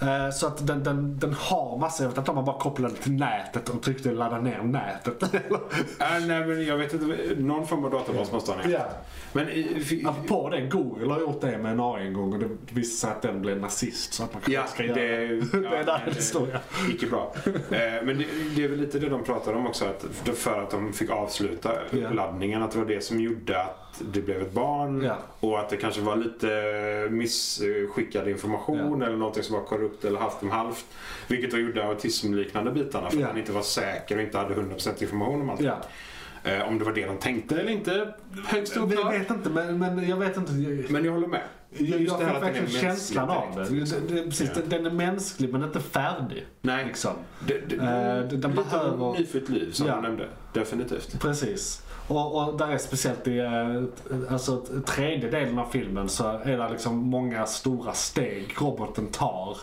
D: behövde.
A: Eh, Så att den, den, den har massor. Jag vet att de har bara kopplat till nätet och tryckte ladda ner nätet.
D: Äh, nej, men jag vet inte. Någon form av databas måste han ha
A: Ja.
D: Men i- fi-
A: Alltså, På det, Google har gjort det med en AI en gång och det visade sig att den blev nazist. Så att man kanske
D: Ja,
A: inte ska
D: det,
A: göra det.
D: ja,
A: är en annan
D: det-
A: historia.
D: Icke bra. Eh, Men det, det är väl lite det de pratar om också. Att för att de fick avsluta
A: Ja.
D: uppladdningen. Att det var det som gjorde att det blev ett barn.
A: Ja.
D: Och att det kanske var lite missskickad information. Eller någonting som var korrupt eller halvt om halvt. Vilket då gjorde autismliknande bitarna. För
A: Ja.
D: att han inte var säker och inte hade 100% information om allt.
A: Ja.
D: Eh, Om det var det de tänkte eller inte. Högst
A: Men Jag
D: oklart.
A: vet inte, men, men jag vet inte. Jag,
D: Men jag håller med.
A: jag, jag fick
D: det här att den är
A: verkligen känslan av
D: mänsklig
A: det.
D: direkt.
A: Det- det- Precis,
D: Ja.
A: den, den är mänsklig men inte färdig.
D: Nej.
A: Liksom.
D: Det, det,
A: Eh,
D: det,
A: den
D: lite
A: behöver-
D: nyfiket liv som
A: Ja.
D: du nämnde. Definitivt.
A: Precis. Och, och där är speciellt i eh, alltså, t- tredje delen av filmen så är det liksom många stora steg roboten tar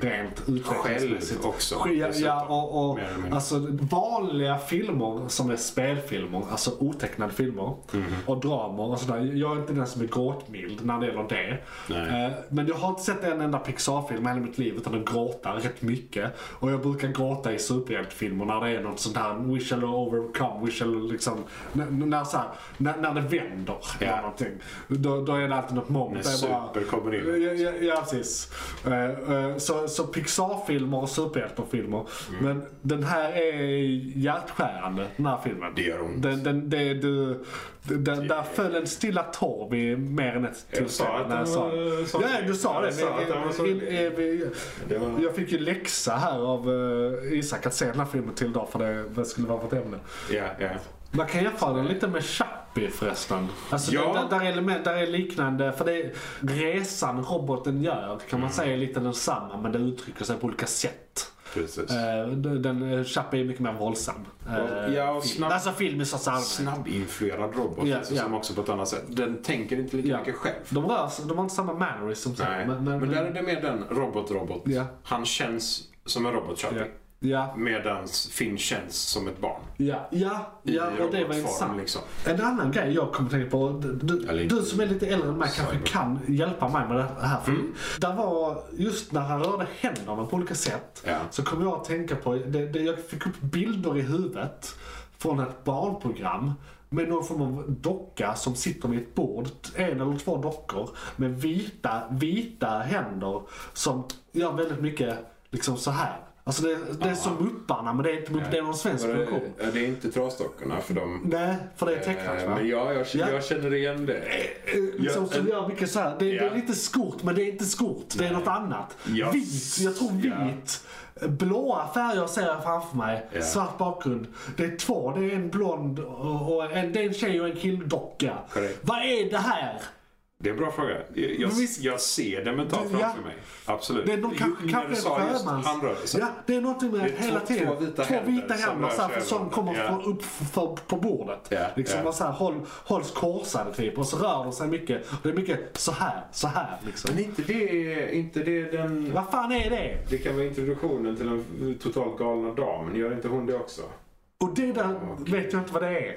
A: rent utvecklingsmässigt.
D: Mm. också,
A: Ja, ja
D: dessutom.
A: och, och
D: Mer eller mindre.
A: alltså vanliga filmer som är spelfilmer, alltså otecknade filmer
D: Mm.
A: och dramer och sådär. Jag är inte den som är gråtmild när det gäller det.
D: Nej.
A: Eh, Men jag har inte sett en enda Pixar-film i hela mitt liv utan jag gråter rätt mycket. Och jag brukar gråta i superhjältefilmer när det är något sånt här we shall overcome, we shall liksom, när, när, så här, när, när det vänder eller
D: Ja.
A: någonting. Då, då är det alltid något moment.
D: När
A: där jag bara-
D: super kommer in.
A: Ja, ja, ja precis. Eh, eh, Så, så Pixar-filmer och superhjältefilmer.
D: Mm.
A: Men den här är hjärtskärande, den här filmen.
D: Det gör ont.
A: Den, den, det, du, den, där föll en stilla tår vid mer än ett
D: Jag sa att
A: när jag
D: den
A: sa
D: var så-
A: Ja, du sa
D: Jag
A: det.
D: sa att den var så-
A: Vi, vi, vi,
D: Det var-
A: jag fick ju läxa här av eh, Isak att se den här filmen till idag för det, det skulle vara vårt ämne.
D: Ja, ja.
A: Man kan jämföra den lite med Chappie förresten. Alltså,
D: Ja.
A: där, där, är, element- där är liknande, för det är, resan roboten gör kan
D: Mm.
A: man säga är lite densamma men det uttrycker sig på olika sätt.
D: Precis.
A: Eh, den- den, Chappie är mycket mer våldsam. Eh,
D: Ja, och
A: film.
D: snabb-
A: Alltså film i största allmänhet.
D: Eh, Snabbinfluerad robot
A: Ja,
D: alltså,
A: ja.
D: som också på ett annat sätt. Den tänker inte lika
A: Ja.
D: mycket själv.
A: De rör sig, de har inte samma mannerism. så,
D: Nej. Men, där är det mer den robot-robot.
A: Ja.
D: Han känns som en robot
A: Ja.
D: yeah.
A: Ja,
D: Medans Finn känns som ett barn.
A: ja, ja,
D: I
A: ja och det var
D: robotform,
A: intressant.
D: liksom.
A: En annan grej jag kommer tänka på. Du,
D: Eller
A: du,
D: inte.
A: du som är lite äldre än mig kanske kan hjälpa mig med det här. För Där var, just när han rörde händerna på olika sätt.
D: Ja.
A: Så kom jag att tänka på, det, det, jag fick upp bilder i huvudet från ett barnprogram. Med någon form av docka som sitter vid ett bord. En eller två dockor. Med vita, vita händer som gör väldigt mycket liksom så här. Alltså det, det är som Mupparna men det är inte Mupparna, det är någon svensk produktion.
D: Eh, det, är inte trasdockorna för de...
A: Nej, för det är tecknat va?
D: men ja, jag,
A: Ja. jag
D: känner igen det.
A: Ja, Liksom, som, som gör mycket så här. Det, det
D: Ja.
A: är lite skort men det är inte skort. Det är något annat.
D: Ja.
A: Vit, jag tror vit. Blåa färger ser jag framför mig.
D: Ja.
A: Svart bakgrund. Det är två. Det är en blond och och en, det är en tjej och en killdocka.
D: Korrekt.
A: Vad är det här?
D: Det är en bra fråga. Jag, jag,
A: Visst.
D: jag ser det mentalt
A: Ja.
D: framför mig. Absolut.
A: Det är någon, kanske,
D: Jo, när du
A: kanske
D: sa
A: en
D: just
A: sjömans.
D: handrörelse.
A: Ja, det är någonting med
D: Det är
A: att hela
D: två-
A: tiden.
D: två vita
A: två
D: händer
A: vita
D: som
A: händer
D: rör
A: så här,
D: sig
A: som
D: över.
A: kommer
D: Ja.
A: från- upp för, på bordet.
D: Ja,
A: liksom
D: ja.
A: bara så här, håll, hålls korsade typ och så rör de sig mycket. Och det är mycket så här, så här liksom.
D: Men inte det, inte det den...
A: Vad fan är det?
D: Det kan vara introduktionen till den totalt galna damen. Gör inte hon det också?
A: Och det där vet jag inte vad det är.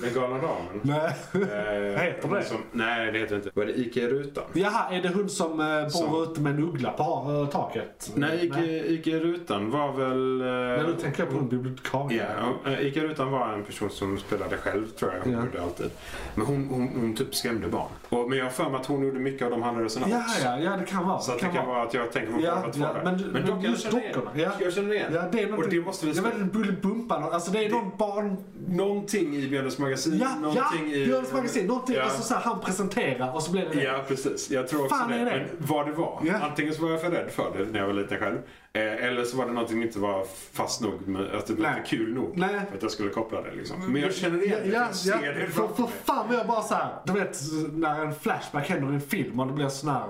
D: Den galna damen.
A: Nej.
D: Eh,
A: Heter
D: hon
A: det?
D: Som, nej, det heter inte. Var det IKEA-rutan?
A: Jaha, är det hon som eh, bor
D: Som-
A: ute med en uggla på eh, taket?
D: Nej, eh, Ike- IKEA-rutan var väl...
A: Nej,
D: eh,
A: då tänker jag på hon bibliotekarien.
D: Ja, eh, Ica Rutan var en person som spelade själv tror jag. Hon
A: Ja.
D: gjorde alltid. Men hon, hon, hon typ skrämde barn. Och, men jag har för mig att hon gjorde mycket av de handrörelserna
A: Ja,
D: också.
A: ja, ja, det kan vara.
D: Så att det kan vara att jag tänker på
A: Ja,
D: båda två
A: ja,
D: där.
A: men- men
D: dock, jag
A: just
D: känner igen.
A: dockorna, ja.
D: Jag känner igen.
A: Ja, det är någonting.
D: Och det måste vi
A: Jag vet
D: säga.
A: inte, Bullybumpa. Alltså det är någon barn...
D: Någonting i Björnes magasin.
A: Ja, ja!
D: någonting i...
A: Björns magasin. Någonting,
D: Ja.
A: alltså så här, han presenterar och så blir det det.
D: Ja, precis. Jag tror också
A: Fan
D: det.
A: är det?
D: Men vad det var.
A: Ja.
D: Antingen så var jag för rädd för det när jag var liten själv. Eh, eller så var det någonting som inte var fast nog. Med, att det blev
A: Nej.
D: inte kul nog.
A: Nej.
D: För att jag skulle koppla det liksom. Men jag känner igen det.
A: Ja,
D: jag
A: ja,
D: ser det
A: för,
D: framför
A: för
D: mig.
A: fan vad jag bara såhär, du vet när en flashback händer i en film och det blir sån här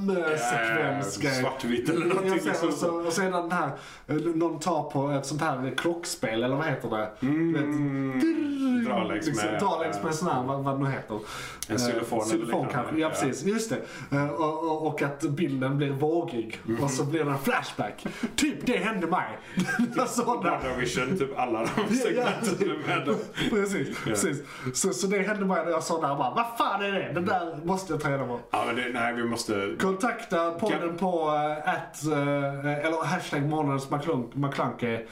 A: drömsekvensgrej.
D: Eh, Svartvitt eller någonting.
A: Jag ser,
D: liksom.
A: och, så, och sen den här, eh, någon tar på ett sånt här klockspel eller vad heter det?
D: Mm, dra längs
A: Liksom,
D: med. eh,
A: dra längs med en sån här, vad, vad det nu heter.
D: En xylofon
A: Eh,
D: eller
A: Xylofon
D: liknande.
A: kanske, ja
D: Ja.
A: precis. Just det. Eh, Och, och, och att bilden blir vågig och så blir det en flashback. typ det hände mig. Sådana.
D: Murder Vision, typ alla de
A: Ja, ja.
D: segmenten du är med om.
A: Precis, precis. Så, så det hände mig när jag sa det här bara, vad fan är det? Det där måste jag ta reda på.
D: Ja, men det, nej, vi måste...
A: Kontakta podden
D: Kan-
A: på eh, att, eh, eller hashtag månadens McClunk- McClunky.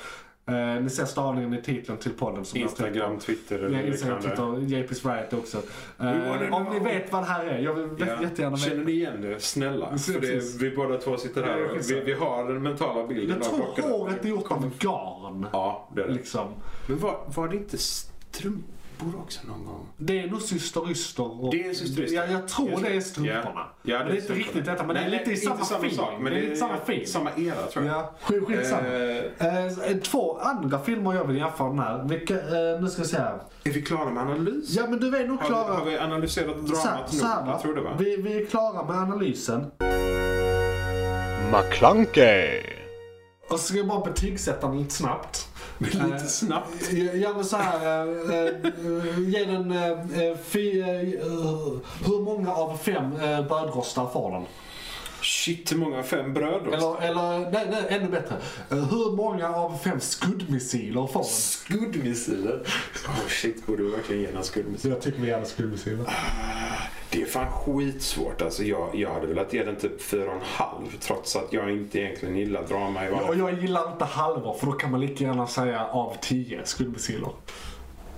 A: Eh, ni ser stavningen i titeln till podden. Som jag har tänkt.
D: Instagram, Twitter
A: Ja,
D: eller
A: Instagram,
D: liknande.
A: Twitter, JP's Riot också.
D: wanna
A: Eh, om
D: know.
A: ni vet vad det här är, jag vill
D: Ja.
A: jättegärna veta.
D: Känner ni igen det? Snälla. För det,
A: Precis.
D: vi båda två sitter här
A: Ja,
D: och
A: precis.
D: vi, vi har den mentala bilden
A: Jag
D: av
A: tror
D: klockan.
A: håret är gjort av garn.
D: Ja, det är det.
A: Liksom.
D: Men var, var det inte strumpor också någon gång?
A: Det är nog syster Yster. och-
D: Det är Syster Yster.
A: Ja, jag tror
D: Just
A: det är strumporna.
D: Ja,
A: det, är inte
D: strumporna.
A: riktigt detta, men
D: Nej,
A: det är lite i samma,
D: inte
A: feeling.
D: sak, men
A: det är lite samma feeling.
D: Samma era tror jag.
A: Ja, skit- skitsamma.
D: Eh,
A: Eh, två andra filmer jag vill jämföra den här. Vilka, eh, nu ska vi se här.
D: Är vi klara med analys?
A: Ja men du är nog
D: Har vi, har
A: klara.
D: vi analyserat
A: Så här-
D: dramat
A: så här,
D: nog? Jag tror det va?
A: Vi, vi är klara med analysen.
C: McClunkey!
A: Och så ska jag bara betygsätta den lite snabbt. Eh.
D: Lite snabbt.
A: Ja, Ja men så här, eh, eh, ge den eh, eh, fy, eh, eh, hur många av fem eh, brödrostar får den?
D: Shit, hur många? Fem bröd då?
A: Eller, eller nej, nej, ännu bättre. Eh, hur många av fem skuddmissiler får den?
D: Skuddmissiler. Oh shit, borde vi verkligen ge den skuddmissiler?
A: Jag tycker vi gärna skuddmissiler.
D: Det är fan skitsvårt. Alltså jag, jag hade velat ge den typ 4,5 trots att jag inte egentligen gillar drama i
A: Ja,
D: vanliga
A: Och jag gillar inte halvor för då kan man lika gärna säga av tio skuddmissiler.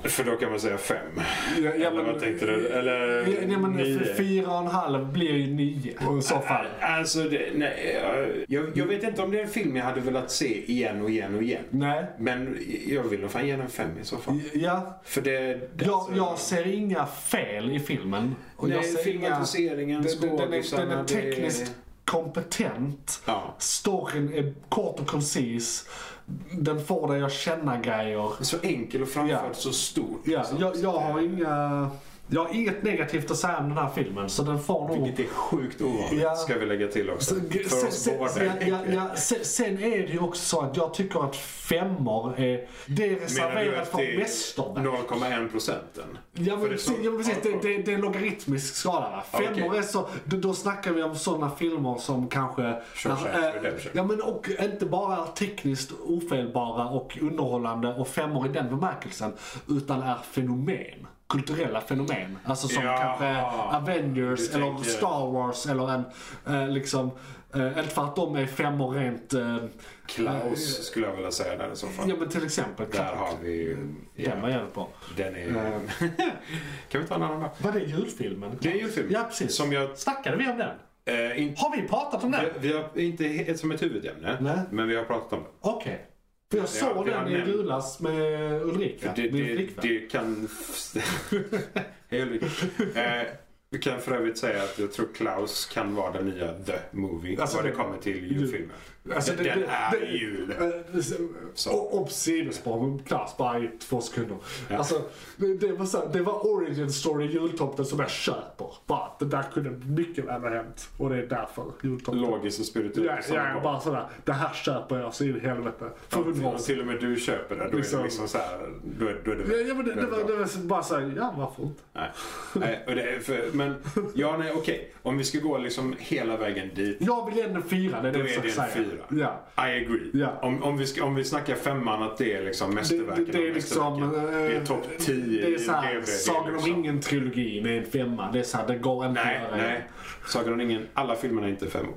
D: För då kan man säga 5.
A: Ja, ja,
D: eller
A: men-
D: vad tänkte du? Eller
A: Ja, nej, men
D: nio?
A: f- fyra och en halv blir ju nio i så fall.
D: Alltså, det, nej, jag, jag vet inte om det är en film jag hade velat se igen och igen och igen.
A: Nej.
D: Men jag vill nog fan ge den 5 i så fall.
A: Ja.
D: För det... det
A: Jag,
D: alltså-
A: jag ser inga fel i filmen. Och jag
D: Nej,
A: ser inga...
D: filmatiseringen,
A: Den, den, den, är, den
D: skådisarna,
A: är
D: det är-
A: tekniskt kompetent.
D: Ja.
A: Storyn är kort och koncis. Den får dig att känna grejer.
D: Så enkel och framförallt
A: Ja.
D: så stor. liksom.
A: Ja,
D: Så-
A: jag, jag, har inga, jag har inget negativt att säga om den här filmen, så den får nog...
D: Vilket är sjukt ovanligt,
A: Ja.
D: ska vi lägga till också.
A: Så-
D: För
A: Sen,
D: oss
A: sen,
D: båda.
A: sen, Alltså, ja, ja, sen, sen är det ju också så att jag tycker att femmor är, det är
D: Menar du
A: reserverat
D: att
A: för
D: det är
A: mästerverk.
D: 0,1 procenten?
A: Ja men
D: För det är
A: precis,
D: så-
A: ja, men precis det, det, det är en logaritmisk skala. Va? Femmor
D: Okej.
A: är så, då, då snackar vi om sådana filmer som kanske...
D: Shawshank
A: eh,
D: Redemption.
A: ja men och inte bara är tekniskt ofelbara och underhållande och femmor i den bemärkelsen. Utan är fenomen. Kulturella fenomen. Alltså som
D: Ja.
A: kanske Avengers
D: Du
A: eller
D: tänker-
A: Star Wars eller en eh, liksom... Eh, inte för att de är femmor rent... Eh,
D: Klaus skulle jag vilja säga där i så fall.
A: ja men till exempel.
D: Där har vi ju...
A: Den var
D: Ja,
A: jag jävligt bra.
D: den är... kan vi ta en annan då?
A: Var det julfilmen?
D: Det är ju en film.
A: Ja precis.
D: Som jag...
A: Snackade vi om den?
D: Eh, inte
A: Har vi pratat om den?
D: vi har inte he- som ett huvudämne,
A: Nej.
D: men vi har pratat om det.
A: Okej. För jag
D: Det
A: såg
D: har- det har
A: den i
D: nämnt.
A: julas med Ulrika,
D: För det,
A: min
D: det,
A: flickvän.
D: det kan... Hej Ulrika. Eh, Vi kan för övrigt säga att jag tror Klaus kan vara den nya The Movie
A: Alltså,
D: vad det
A: det-
D: kommer till julfilmer.
A: Alltså, det-
D: den
A: det-
D: är
A: det-
D: ju det. Så.
A: Obsidosprång, klass, bara i två sekunder. Alltså, det, det, var så här, det var origin story jultomten som jag köper. Bara att det där kunde mycket väl ha hänt. Och det är därför jultomten.
D: Logiskt och spirituellt.
A: Ja,
D: samma
A: ja,
D: gång.
A: bara sådär. Det här köper jag så in i helvete. För hundra år
D: Om
A: sedan.
D: till och med du köper det, då är
A: Liksom.
D: det liksom så här, då är, då är
A: Ja,
D: det...
A: ja, men det, det, var, det var bara såhär, ja varför inte?
D: Nej. Nej, och det är för, men, ja, nej, okej. Om vi ska gå liksom hela vägen dit.
A: Jag vill ändå fira, det är det
D: Då
A: jag
D: är det
A: försöker
D: en
A: säga.
D: fyra.
A: Ja.
D: I agree.
A: Ja.
D: Om, om, vi ska, om vi snackar femman att det är liksom
A: Det,
D: mästerverken
A: det, det är
D: av
A: liksom...
D: mästerverken. Det är
A: eh,
D: topp 10
A: Det är såhär,
D: IMDb, det är
A: Sagan om
D: liksom-
A: ringen-trilogin är en femma. Det är såhär, det går inte
D: Nej,
A: att göra.
D: nej. Sagan om ringen. Alla filmerna är inte fem år.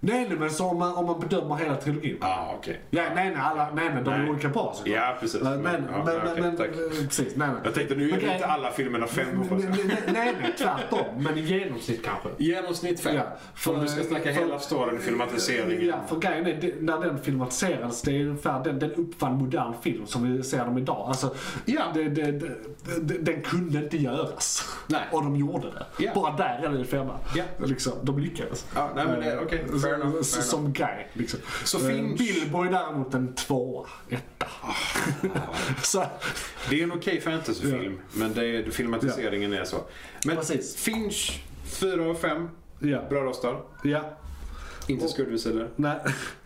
A: nej, nej, men så om man, om man bedömer hela trilogin.
D: Ah, okej.
A: Ja, nej, nej, alla, nej, nej, de är
D: Nej.
A: olika bra såklart.
D: Ja, precis.
A: Men, men,
D: Ja,
A: men,
D: okej,
A: men,
D: tack.
A: eh, precis, nej, nej.
D: Jag tänkte nu är
A: Men
D: det inte
A: grejen-
D: alla filmerna fem hoppas jag.
A: Nej, nej, nej, nej, tvärtom. Men i genomsnitt kanske.
D: Genomsnitt fem.
A: Ja, för-
D: Om du ska snacka
A: för-
D: hela storyn, filmatiseringen.
A: Ja, för grejen är, det- när den filmatiserades, det är ungefär den, den uppfann modern film som vi ser dem idag. Alltså,
D: Ja.
A: det, det, det, det, den kunde inte göras.
D: Nej.
A: Och de gjorde det.
D: Ja.
A: Bara där är det en femma.
D: Ja.
A: Liksom, de lyckades.
D: Ja, nej, men det-
A: Eh,
D: okej, fair
A: så-
D: enough, fair
A: så- Som grej. Liksom.
D: Så
A: Eh,
D: finns-
A: Bilbo är däremot en tvåa, etta.
D: Ah.
A: så,
D: Det är en okej fantasyfilm, men det är, filmatiseringen är så. Men
A: Precis.
D: Finch, fyra av fem.
A: ja.
D: Brödrostar.
A: ja.
D: Inte skuddvisor.
A: Nej.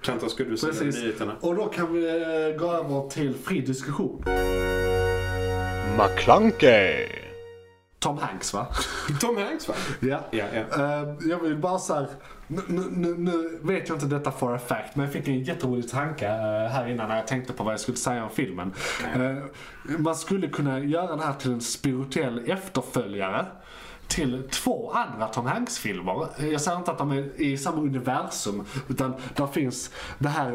D: Kan ta skuddvisor i
A: Precis.
D: nyheterna.
A: Och då kan vi eh, gå över till fri diskussion.
C: McClunkey!
A: Tom Hanks va?
D: Tom Hanks va?
A: Ja.
D: Ja, ja.
A: Eh, jag vill bara såhär, nu, nu- nu, nu vet jag inte detta for a fact, men jag fick en jätterolig tanke eh, här innan när jag tänkte på vad jag skulle säga om filmen. Eh, man skulle kunna göra den här till en spirituell efterföljare till två andra Tom Hanks-filmer. Eh, Jag säger inte att de är i samma universum, utan där finns det här,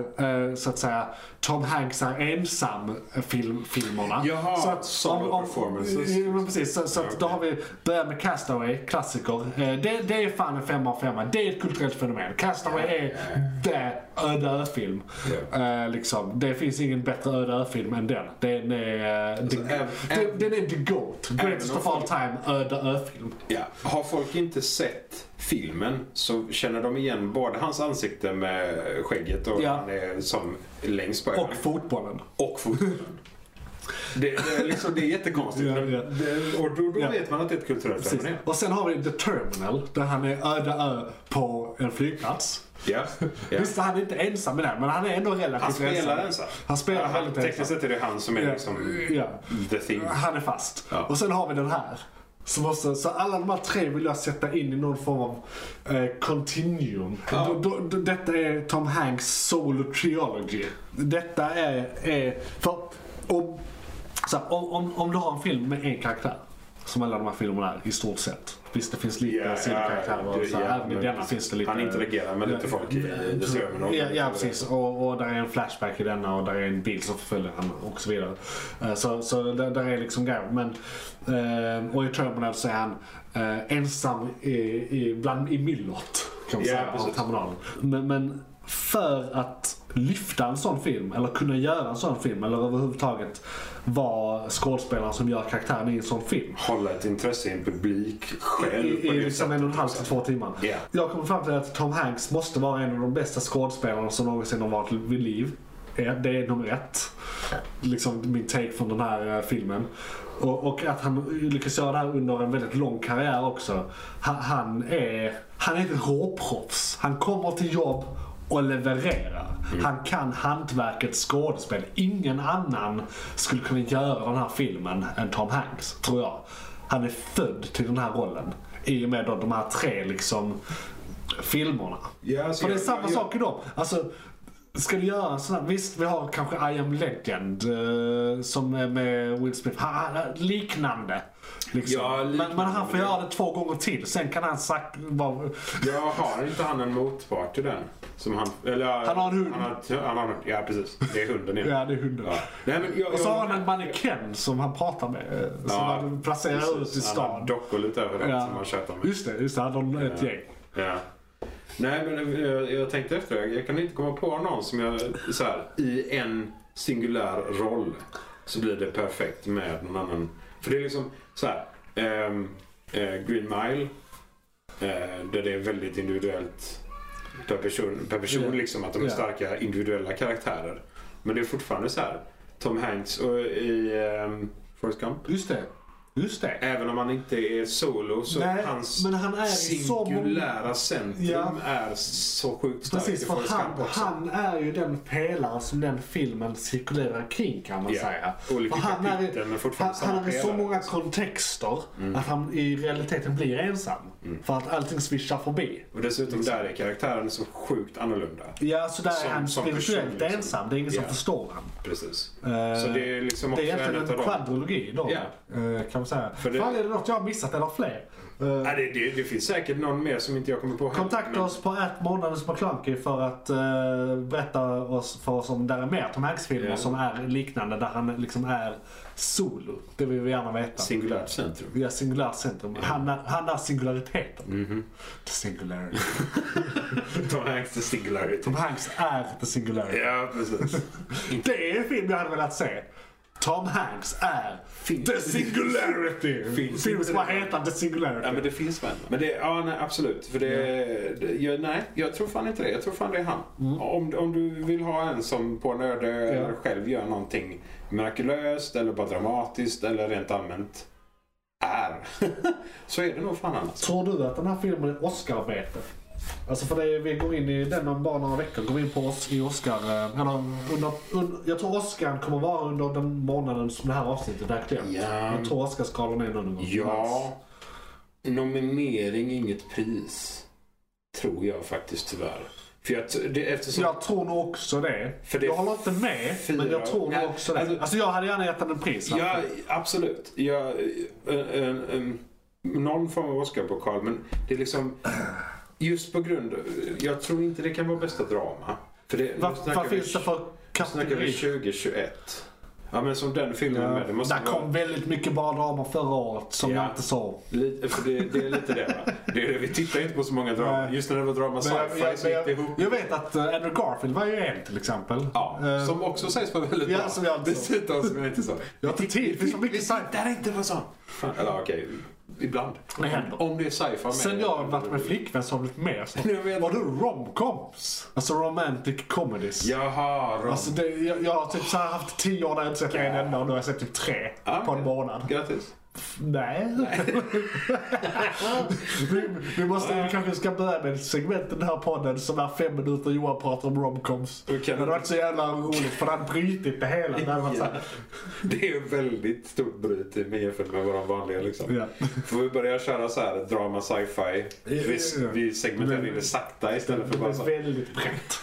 A: eh, så att säga, Tom Hanks är ensam-filmerna.
D: Jaha, solo performances.
A: Ja, men precis. Så, så att då har vi börjat med Castaway, klassiker. Eh, Det, det är fan en femma av femma. Det är ett kulturellt fenomen. Castaway är det öde ö-film. Eh, liksom. Det finns ingen bättre öde ö-film än den. Den är, eh, the,
D: Alltså, även-
A: den, den är the GOAT. Greatest
D: om
A: of all
D: folk-
A: time öde ö-film.
D: Ja. Har folk inte sett filmen så känner de igen både hans ansikte med skägget och
A: Ja.
D: han är som längst på
A: Och
D: ögonen.
A: fotbollen.
D: Och foten. Det, det, är liksom, det är jättekonstigt.
A: Ja,
D: men
A: ja.
D: Det, och då, då
A: Ja.
D: vet man att det är ett kulturellt
A: Precis.
D: fenomen.
A: Och sen har vi The Terminal, där han är öde ö på en flygplats.
D: Ja. Ja.
A: Visst, han är inte ensam med det, men han är ändå relativt
D: Han spelar ensam.
A: Han spelar
D: Ja,
A: väldigt
D: Tekniskt
A: ensam.
D: sett är det han som är
A: Ja.
D: liksom
A: Ja.
D: the thing.
A: Han är fast.
D: Ja.
A: Och sen har vi den här. Så, måste, så alla de här tre vill jag sätta in i någon form av eh, continuum.
D: Ja.
A: Då, då, då, detta är Tom Hanks solo trilogy. Detta är... är för, om, så här, om, om, om du har en film med en karaktär, som alla de här filmerna är i stort sett. Visst det finns lite
D: Ja, ja,
A: sidokaraktärer och
D: det-
A: så här,
D: ja,
A: även i
D: men
A: denna finns det lite...
D: Han interagerar med lite folk i i The Terminal.
A: Ja, ja precis. Och, och där är en flashback i denna och där är en bil som förföljer honom och så vidare. Eh, Så, så där, där är liksom grejer. Men, eh, och i Terminal så är han eh, ensam i, i, bland, i myllret. Kan man
D: Ja,
A: säga, av
D: precis.
A: terminalen. Men, men för att lyfta en sån film eller kunna göra en sån film eller överhuvudtaget vara skådespelaren som gör karaktären i en sån film
D: Hålla ett intresse i en publik själv.
A: i,
D: på
A: i
D: det
A: liksom en och en halv till
D: sättet.
A: två timmar.
D: Ja.
A: Jag kommer fram till att Tom Hanks måste vara en av de bästa skådespelarna som någonsin har varit vid liv. Ja, Det är nummer ett. Liksom min take från den här eh, filmen. Och, och att han lyckas göra det här under en väldigt lång karriär också. Han, han är han är ett råproffs. Han kommer till jobb och levererar. Han kan hantverket skådespel. Ingen annan skulle kunna göra den här filmen än Tom Hanks, tror jag. Han är född till den här rollen. I och med då de här tre liksom filmerna.
D: Ja, alltså,
A: För det är
D: jag-
A: samma
D: jag-
A: sak i dem. Alltså, ska du göra en sån här, visst vi har kanske I am legend eh, som är med Will Smith. Han, han, liknande. Liksom.
D: Ja, liknande.
A: Men, men han får göra det två gånger till, sen kan han sagt, vara...
D: Ja, har inte han en motpart till den? Som han, eller,
A: Han har en hund.
D: Han har, han har en hund. Ja, precis. Det är hunden igen.
A: Ja, det är hunden.
D: Ja. Nej, men jag,
A: Och så
D: jag-
A: har han en mannekäng som han pratar med. eh, Som
D: Ja,
A: han placerar ut i
D: precis. Han har
A: stan.
D: dockor lite överallt
A: Ja.
D: som han tjötar med.
A: Just det, just det. Han har ett gäng.
D: Ja. Nej, men eh, jag, jag tänkte efter. Jag, jag kan inte komma på någon som jag... Så här, I en singulär roll så blir det perfekt med någon annan. För det är liksom så här. ehm, eh, Green Mile. eh, där det är väldigt individuellt per person. Per person
A: Ja.
D: liksom att de är
A: Ja.
D: starka individuella karaktärer. Men det är fortfarande så här. Tom Hanks och i um, Forrest Gump.
A: Just det. Just det.
D: Även om han inte är solo så
A: Nej,
D: hans
A: men han är i så många-
D: singulära centrum
A: Ja.
D: är så sjukt starkt i
A: Precis, för
D: Forrest Gump
A: han,
D: också.
A: han är ju den pelare som den filmen cirkulerar kring kan man
D: Ja,
A: säga.
D: olika
A: För han är,
D: kapitel, men
A: i- han,
D: fortfarande
A: han
D: samma
A: är i så
D: pelare, Mm.
A: många
D: liksom.
A: kontexter att han i realiteten blir ensam.
D: Mm.
A: För att allting svischar förbi.
D: Och dessutom där är karaktären så sjukt annorlunda.
A: Ja, så där
D: Som-
A: är han
D: som person,
A: spirituellt
D: liksom.
A: ensam. Det är ingen som
D: Ja.
A: förstår honom.
D: Precis.
A: Eh,
D: så det är liksom
A: Det är
D: också en
A: egentligen
D: utav
A: en
D: dem.
A: kvadrologi då.
D: Ja.
A: eh, Kan man säga. För
D: det-
A: Fan, är det något jag har missat eller fler? Eh,
D: Nej, det, det, det finns säkert någon mer som inte jag kommer på. här,
A: Kontakta
D: men-
A: oss på att månadens McKlunky för att eh, berätta oss för oss om där är mer Tom Hanks-filmer
D: Ja.
A: som är liknande där han liksom är solo. Det vill vi gärna veta.
D: Singulärt centrum.
A: vi har singulärt centrum. Han, är, han är singulariteten.
D: Mhm.
A: The singularity.
D: Tom Hanks the singularity.
A: Tom Hanks är the singularity.
D: Ja, precis.
A: Det är en film jag hade velat se. Tom Hanks är the singularity.
D: Finns
A: Filmen
D: inte
A: ska bara
D: det?
A: heta the singularity.
D: Ja, men det finns väl. Mm. Men det, ja, nej, absolut. För det, det, jag, nej, jag tror fan inte det. Jag tror fan det är han. Om, om du vill ha en som på en öde ö eller själv gör någonting mirakulöst eller bara dramatiskt eller rent allmänt är. så är det nog fan han. alltså.
A: Tror du att den här filmen är Oscar-bete? Alltså för det, vi går in i den om bara några veckor. Går vi in på oss i Oscar... eh, Eller under, un, jag tror Oscar kommer vara under den månaden som det här avsnittet är aktuellt.
D: Ja.
A: Jag tror Oscarsgalan är nu någon gång.
D: Ja, nominering inget pris. Tror jag faktiskt tyvärr. För jag, t- det, eftersom...
A: Jag tror nog också det.
D: För det
A: jag håller inte med,
D: fyra-
A: men jag tror nog
D: Nej,
A: också det. Alltså,
D: alltså-
A: jag hade gärna gett den en pris. va?
D: Ja, absolut. Ja, en, en, en, någon form av Oscarpokal, men det är liksom... Just på grund... Jag tror inte det kan vara bästa drama. För det,
A: Vad,
D: nu snackar
A: vad
D: vi-
A: finns det för Mm.
D: Nu snackar vi
A: kategori?
D: 2021. Ja, men som den filmen med. Det måste
A: Där
D: vara...
A: kom väldigt mycket bra dramer förra året som
D: Ja.
A: jag inte såg.
D: Lite, för det, det är lite det va? Det är det, vi tittar inte på så många drama.
A: Nej.
D: Just när det var drama
A: Men jag,
D: sci-fi
A: jag,
D: så gick
A: jag,
D: Alltså, det
A: jag,
D: ihop.
A: vet att eh, Andrew Garfield var ju en till exempel.
D: Ja,
A: Eh,
D: som också sägs vara väldigt
A: ja,
D: bra.
A: som jag inte sa.
D: Dessutom som jag inte sa.
A: Jag har inte tid för så mycket
D: Vi
A: sci-fi.
D: tittar inte på sånt. Fan, Eller okej, Ibland.
A: Det händer.
D: Om det är sci-fi med.
A: Sen jag har varit med flickvän så har det blivit mer så.
D: Jag vet.
A: Var du romcoms? Alltså romantic comedies.
D: Jaha, Ron.
A: Alltså det, jag, jag har typ så här haft tio år där jag inte sett en enda och nu har jag sett typ tre
D: Ja,
A: på en
D: Ah, ja.
A: månad.
D: Grattis.
A: Nej. vi, vi måste, vi kanske ska börja med ett segment i den här podden som är fem minuter Johan pratar om romcoms.
D: Okej.
A: Det hade varit så jävla roligt för han brutit det hela. Det hade varit så här,
D: Det är ju väldigt stort bryt i- jämfört med våran vanliga liksom.
A: ja.
D: Får vi börja köra så här drama sci-fi? Vi,
A: ja.
D: vi segmenterar in det sakta istället för bara så
A: Det
D: här.
A: är väldigt brett.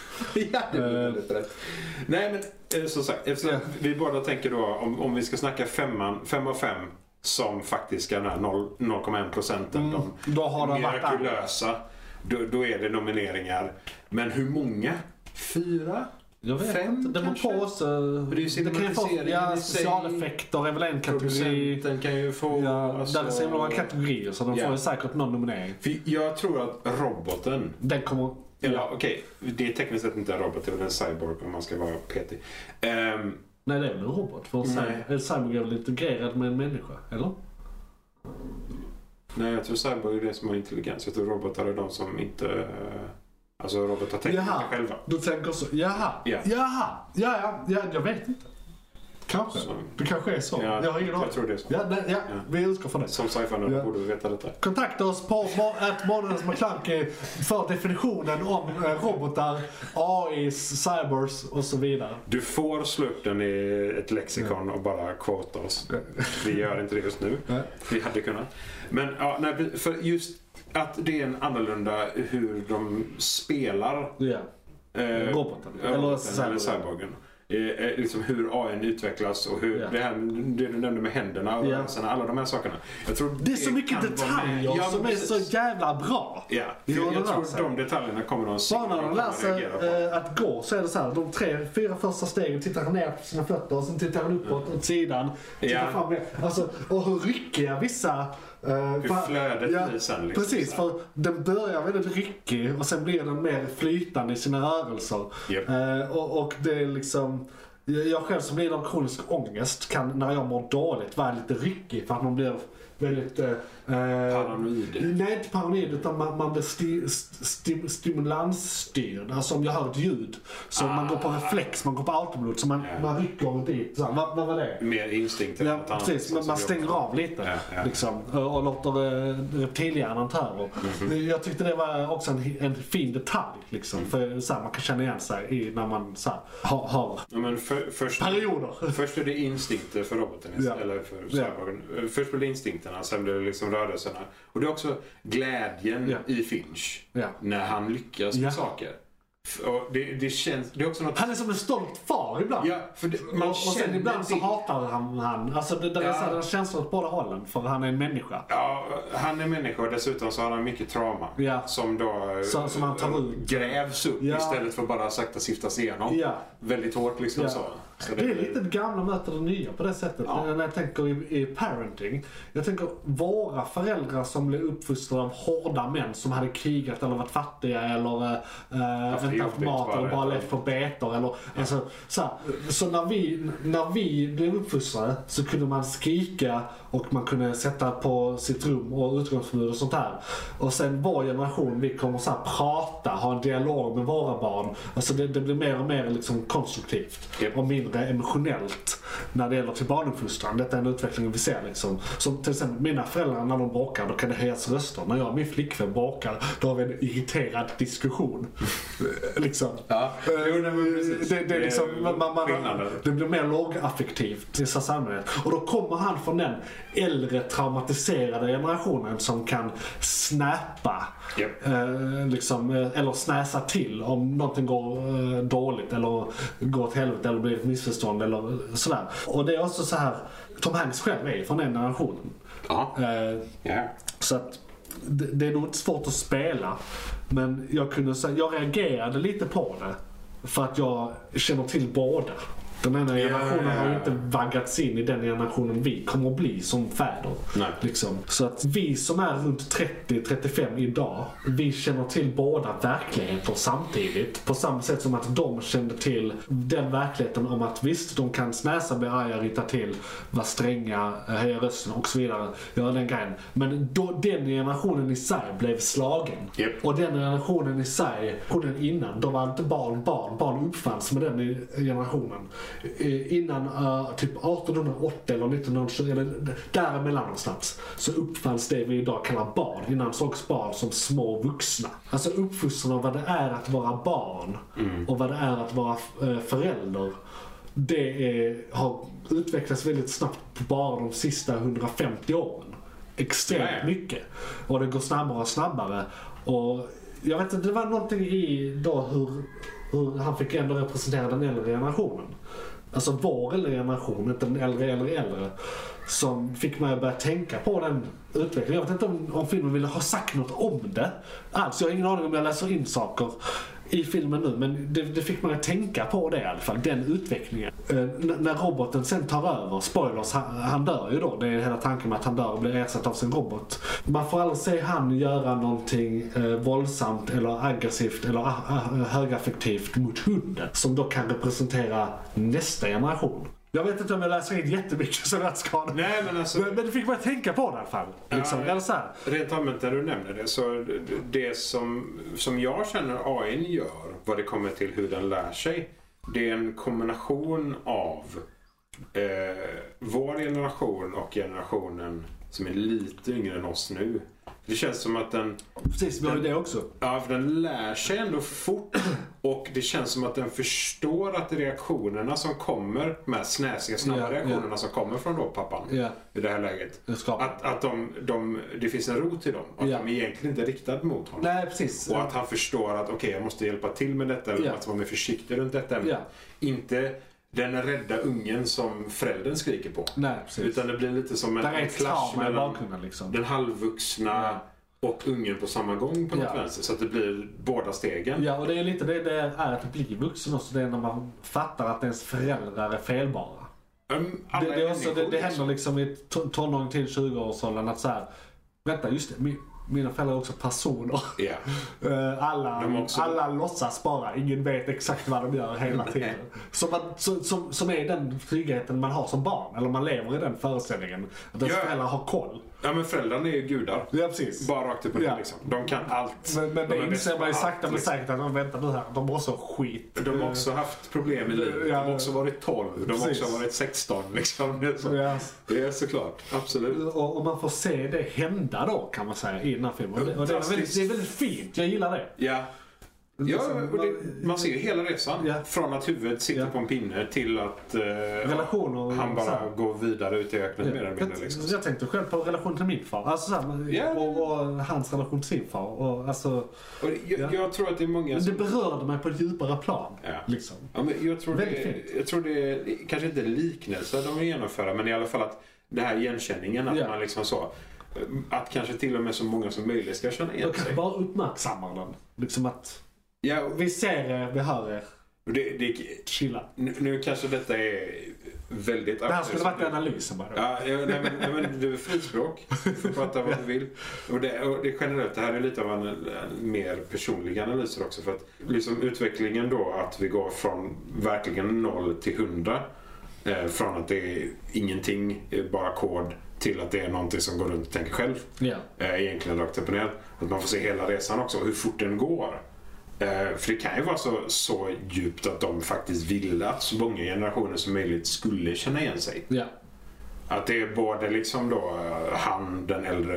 D: Ja, det
A: Eh.
D: blir väldigt rätt. Nej, men eh, som sagt. Eftersom
A: Ja.
D: vi båda tänker då om, om vi ska snacka femman, fem av fem som faktiskt är den här noll- 0,1 procenten.
A: Mm, då har
D: de
A: det varit andra.
D: mirakulösa. Då, då är det nomineringar. Men hur många? Fyra?
A: Jag vet
D: Fem,
A: inte. Det
D: kanske?
A: beror på så...
D: det är ju
A: Det kan ju få
D: cinematiseringen
A: ja,
D: i sig.
A: specialeffekter är väl en kategori.
D: Producenten kan ju få...
A: Ja,
D: alltså-
A: Där är så himla många kategorier så de
D: Ja.
A: får ju säkert någon nominering.
D: För Jag tror att roboten
A: Den kommer...
D: Eller ja. okej, det är tekniskt sett inte en robot, det är väl en cyborg om man ska vara petig. Ehm,
A: Nej, det är väl en robot? För en cy-
D: Nej.
A: en cyborg är väl integrerad med en människa? Eller?
D: nej, jag tror cyborg är det som har intelligens. Jag tror robotar är de som inte... eh, Alltså robotar tänker
A: Jaha.
D: inte själva.
A: Du tänker så. Jaha.
D: Ja.
A: Jaha. Ja, ja, ja. Jag vet inte. Kanske.
D: Så-
A: Det kanske är så.
D: Ja,
A: jag har ingen
D: jag
A: aning.
D: tror det är så.
A: Ja, nej, ja,
D: Ja.
A: vi utgår från det.
D: Som sci-fi
A: Ja.
D: borde vi veta detta.
A: Kontakta oss på att McClunky för definitionen om eh, robotar, AI, cybers och så vidare.
D: Du får slå upp den i ett lexikon och bara quota oss. Vi gör inte det just nu.
A: Nej.
D: Vi hade kunnat. Men ja, nej, för just att det är en annorlunda hur de spelar
A: Ja.
D: Eh,
A: Roboten.
D: ja,
A: Eller
D: roboten,
A: cyborgen.
D: eller cyborgen. Eh, eh, liksom hur AI utvecklas och hur
A: Ja.
D: det, här, det du nämnde med händerna och
A: Ja.
D: rörelserna, alla de här sakerna. Jag tror
A: Det är så mycket
D: kan vara med.
A: detaljer
D: Ja,
A: som är
D: precis.
A: så jävla bra.
D: Ja,
A: Det
D: jag,
A: gör
D: jag
A: det
D: tror
A: alltså.
D: de detaljerna kommer de
A: Bara när de lär sig
D: reagera på.
A: eh, att gå så är det så här. De tre, fyra första stegen tittar han ner på sina fötter och sen tittar han uppåt åt sidan. Tittar
D: Mm. Ja.
A: fram igen. alltså, och hur ryckiga vissa... eh, fa-
D: flödet blir sen, liksom,
A: Precis,
D: så här.
A: för den börjar väldigt ryckig och sen blir den mer flytande i sina rörelser.
D: Japp.
A: Eh, och, och det är liksom... jag- Jag själv som lider av kronisk ångest kan när jag mår dåligt vara lite ryckig för att man blir väldigt... eh, eh,
D: Paranoid.
A: Nej, inte paranoid utan man, man blir sti, st, sti, stimulansstyrd. Alltså om jag hör ett ljud så man går på reflex, man går på autopilot så man,
D: Ah. Ja.
A: man rycker runt i. Så här, Vad, vad var det?
D: Mer instinkt än
A: Ja,
D: något annat,
A: precis.
D: liksom,
A: Man, man
D: som
A: stänger
D: jobbar.
A: av lite
D: Ja, ja.
A: Liksom, och och låter eh, reptilhjärnan ta över.
D: Mhm.
A: Jag tyckte det var också en, en fin detalj. Liksom, för, så här, man kan känna igen sig i när man så här, har, har
D: Ja, men för, först,
A: perioder.
D: först är det instinkter för roboten,
A: Ja.
D: eller för
A: Ja.
D: cyborgen. Eh, Först blir det instinkterna, sen blir det liksom rörelserna. Och det är också glädjen
A: Ja.
D: i Finch.
A: Ja.
D: när han lyckas
A: Ja.
D: med saker. F- Och det, det känns... Det är också något...
A: Han är som en stolt far ibland.
D: Ja, för det, man
A: och, och sen
D: känner
A: ibland så
D: det.
A: hatar han han. Alltså det, det är
D: Ja.
A: så här, det är känslor åt båda hållen för han är en människa.
D: Ja, han är människa och dessutom så har han mycket trauma.
A: Ja.
D: Som då eh,
A: Så- som han tar ut.
D: grävs upp
A: Ja.
D: istället för att bara sakta siftas igenom.
A: Ja.
D: Väldigt hårt liksom
A: Ja.
D: så. så
A: Det är lite det gamla möter det nya på det sättet.
D: Ja.
A: När jag tänker i, i parenting. Jag tänker våra föräldrar som blev uppfostrade av hårda män som hade krigat eller varit fattiga eller eh,
D: det är
A: inte haft
D: jobbigt
A: mat
D: bara,
A: eller bara
D: ja.
A: levt på betor. Eller, alltså, så här, så när, vi, när vi blev uppfostrade så kunde man skrika och man kunde sätta på sitt rum och utgångsförbud och sånt här. Och sen vår generation, vi kommer så här prata, ha en dialog med våra barn. Alltså det, det blir mer och mer liksom konstruktivt
D: Japp.
A: och mindre emotionellt när det gäller till barnuppfostran. Detta är en utveckling vi ser. Liksom. Som till exempel mina föräldrar när de bråkar, då kan det höjas röster. När jag och min flickvän bråkar, då har vi en irriterad diskussion. liksom.
D: Ja. Jo, nej, men precis.
A: det, det, är liksom,
D: Det är
A: man, man,
D: skillnaden.
A: det blir mer lågaffektivt i samhället. Och då kommer han från den äldre traumatiserade generationen som kan snäppa.
D: Japp.
A: Eh, liksom, eh, eller snäsa till om någonting går eh, dåligt eller går åt helvete eller blir ett missförstånd eller sådär. Och det är också så här, Tom Hanks själv är från den generationen.
D: Ja.
A: Eh,
D: Ja.
A: så att det, det är nog inte svårt att spela. Men jag kunde säga, jag reagerade lite på det. För att jag känner till båda. Den ena
D: Ja,
A: generationen
D: ja, ja.
A: har ju inte vaggats in i den generationen vi kommer att bli som fäder.
D: Nej.
A: Liksom. Så att vi som är runt 30-35 idag, vi känner till båda verkligheter samtidigt. På samma sätt som att de kände till den verkligheten om att visst, de kan snäsa, bli arga, ryta till, vara stränga, eh, höja rösten och så vidare. Göra den grejen. Men då, den generationen i sig blev slagen.
D: Japp.
A: Och den generationen i sig, generationen innan, de var inte barn, barn. Barn uppfanns med den i- generationen. Eh, Innan eh, typ 1880 eller 1920, eller däremellan någonstans, så uppfanns det vi idag kallar barn. Innan sågs barn som små vuxna. Alltså uppfostran av vad det är att vara barn
D: Mm.
A: och vad det är att vara eh, förälder. Det är, har utvecklats väldigt snabbt på bara de sista 150 åren. Extremt
D: Ja, ja.
A: mycket. Och det går snabbare och snabbare. Och jag vet inte, det var någonting i då hur, hur han fick ändå representera den äldre generationen. Alltså vår äldre generation, inte den äldre äldre äldre. Som fick mig att börja tänka på den utvecklingen. Jag vet inte om, om filmen ville ha sagt något om det. Alls, jag har ingen aning om jag läser in saker i filmen nu. Men det, det fick mig att tänka på det i alla fall, den utvecklingen. Eh, n- när roboten sen tar över, spoilers, han, han dör ju då. Det är hela tanken med att han dör och blir ersatt av sin robot. Man får aldrig se han göra någonting eh, våldsamt eller aggressivt eller ah, ah, högaffektivt mot hunden. Som då kan representera nästa generation. Jag vet inte om jag läser in jättemycket så det ska
D: Nej, men alltså-
A: men, men det fick mig att tänka på det i alla fall. Liksom.
D: Ja.
A: Eller så här.
D: Rent allmänt när du nämner det så det som, som jag känner AI gör vad det kommer till hur den lär sig det är en kombination av eh, vår generation och generationen som är lite yngre än oss nu. Det känns som att den,
A: Precis, vi har ju det också.
D: ja, för den lär sig ändå fort och det känns som att den förstår att reaktionerna som kommer, de här snäsiga snabba
A: Ja, ja.
D: reaktionerna som kommer från då pappan
A: Ja.
D: i det här läget.
A: Det ska-
D: Att, att de, de, det finns en rot i dem. Att
A: Ja.
D: de är egentligen inte riktad mot honom.
A: Nej, precis.
D: Och att han förstår att okej, jag måste hjälpa till med detta. Eller
A: Ja.
D: att vara mer försiktig runt detta ämnet. Inte den rädda ungen som föräldern skriker på.
A: Nej, precis.
D: Utan det blir lite som en,
A: Där är
D: en
A: ett
D: clash
A: trauma i
D: mellan
A: bakgrunden liksom.
D: den halvvuxna och ungen på samma gång på något
A: Ja.
D: vänster. Så att det blir båda stegen.
A: Ja, och det är lite det det är att bli vuxen också. Det är när man fattar att ens föräldrar är felbara.
D: Ehm,
A: Det,
D: alla
A: det, är också,
D: människor,
A: det, det
D: liksom.
A: händer liksom i ton- tonåring till 20-årsåldern att så här, vänta just det, min, mina föräldrar är också personer.
D: liksom. Ja.
A: Eh, Alla,
D: De är också-
A: alla låtsas bara, ingen vet exakt vad de gör hela tiden. Som, att, som, som, som är den tryggheten man har som barn, eller man lever i den föreställningen. Att ens
D: Ja.
A: föräldrar har koll.
D: ja, men föräldrarna är ju gudar.
A: Ja, precis.
D: Bara rakt upp och ner
A: Ja.
D: liksom. De kan allt.
A: Men, men
D: De
A: det
D: är bäst
A: inser
D: på
A: man ju
D: allt,
A: sakta men
D: liksom.
A: säkert att de väntar nu här, de mår så skit.
D: De har också haft problem i livet. De
A: Ja.
D: har också varit 12. De har
A: Precis.
D: också varit 16. Liksom. Det, är så.
A: Ja.
D: det är såklart. Absolut.
A: Och, och man får se det hända då kan man säga i den här filmen. Och det, och det, är, väldigt, det är väldigt fint, jag gillar det.
D: Ja. Ja, och det, man ser ju hela resan.
A: Ja.
D: Från att huvudet sitter
A: Ja.
D: på en pinne till att eh,
A: Relationer och
D: han
A: så
D: bara
A: här.
D: går vidare ut i öknen mer eller
A: Jag,
D: mindre. Liksom.
A: jag tänkte själv på relationen till min far. Alltså, så här,
D: Ja.
A: och, och hans relation till sin far. Och, alltså,
D: Och jag,
A: Ja.
D: jag tror att det är många
A: det
D: som...
A: berörde mig på ett djupare plan.
D: Ja.
A: Liksom.
D: Ja, men jag, tror
A: Väldigt
D: det,
A: fint.
D: jag tror det är kanske inte liknelser de vill genomföra men i alla fall att det här igenkänningen. Att
A: Ja.
D: man liksom så... Att kanske till och med så många som möjligt ska känna igen
A: Jag kanske
D: sig.
A: bara uppmärksammar den. Liksom att
D: Ja, och
A: vi ser er, vi hör er,
D: det, det,
A: chilla.
D: Nu, nu kanske detta är väldigt...
A: Det här skulle varit analysen bara.
D: Ja, ja, nej, men, nej, men du är frispråk. Du får prata vad du vill. Och det, och det är generellt, det här är lite av en, en mer personlig analys också. För att liksom utvecklingen då att vi går från verkligen noll till hundra. Eh, från att det är ingenting, eh, bara kod, till att det är någonting som går runt och tänker själv.
A: Ja.
D: Eh, egentligen rakt upp och ner. Att man får se hela resan också, hur fort den går. Eh, för det kan ju vara så, så djupt att de faktiskt ville att så många generationer som möjligt skulle känna igen sig.
A: Ja.
D: Att det är både liksom då eh, han, den äldre,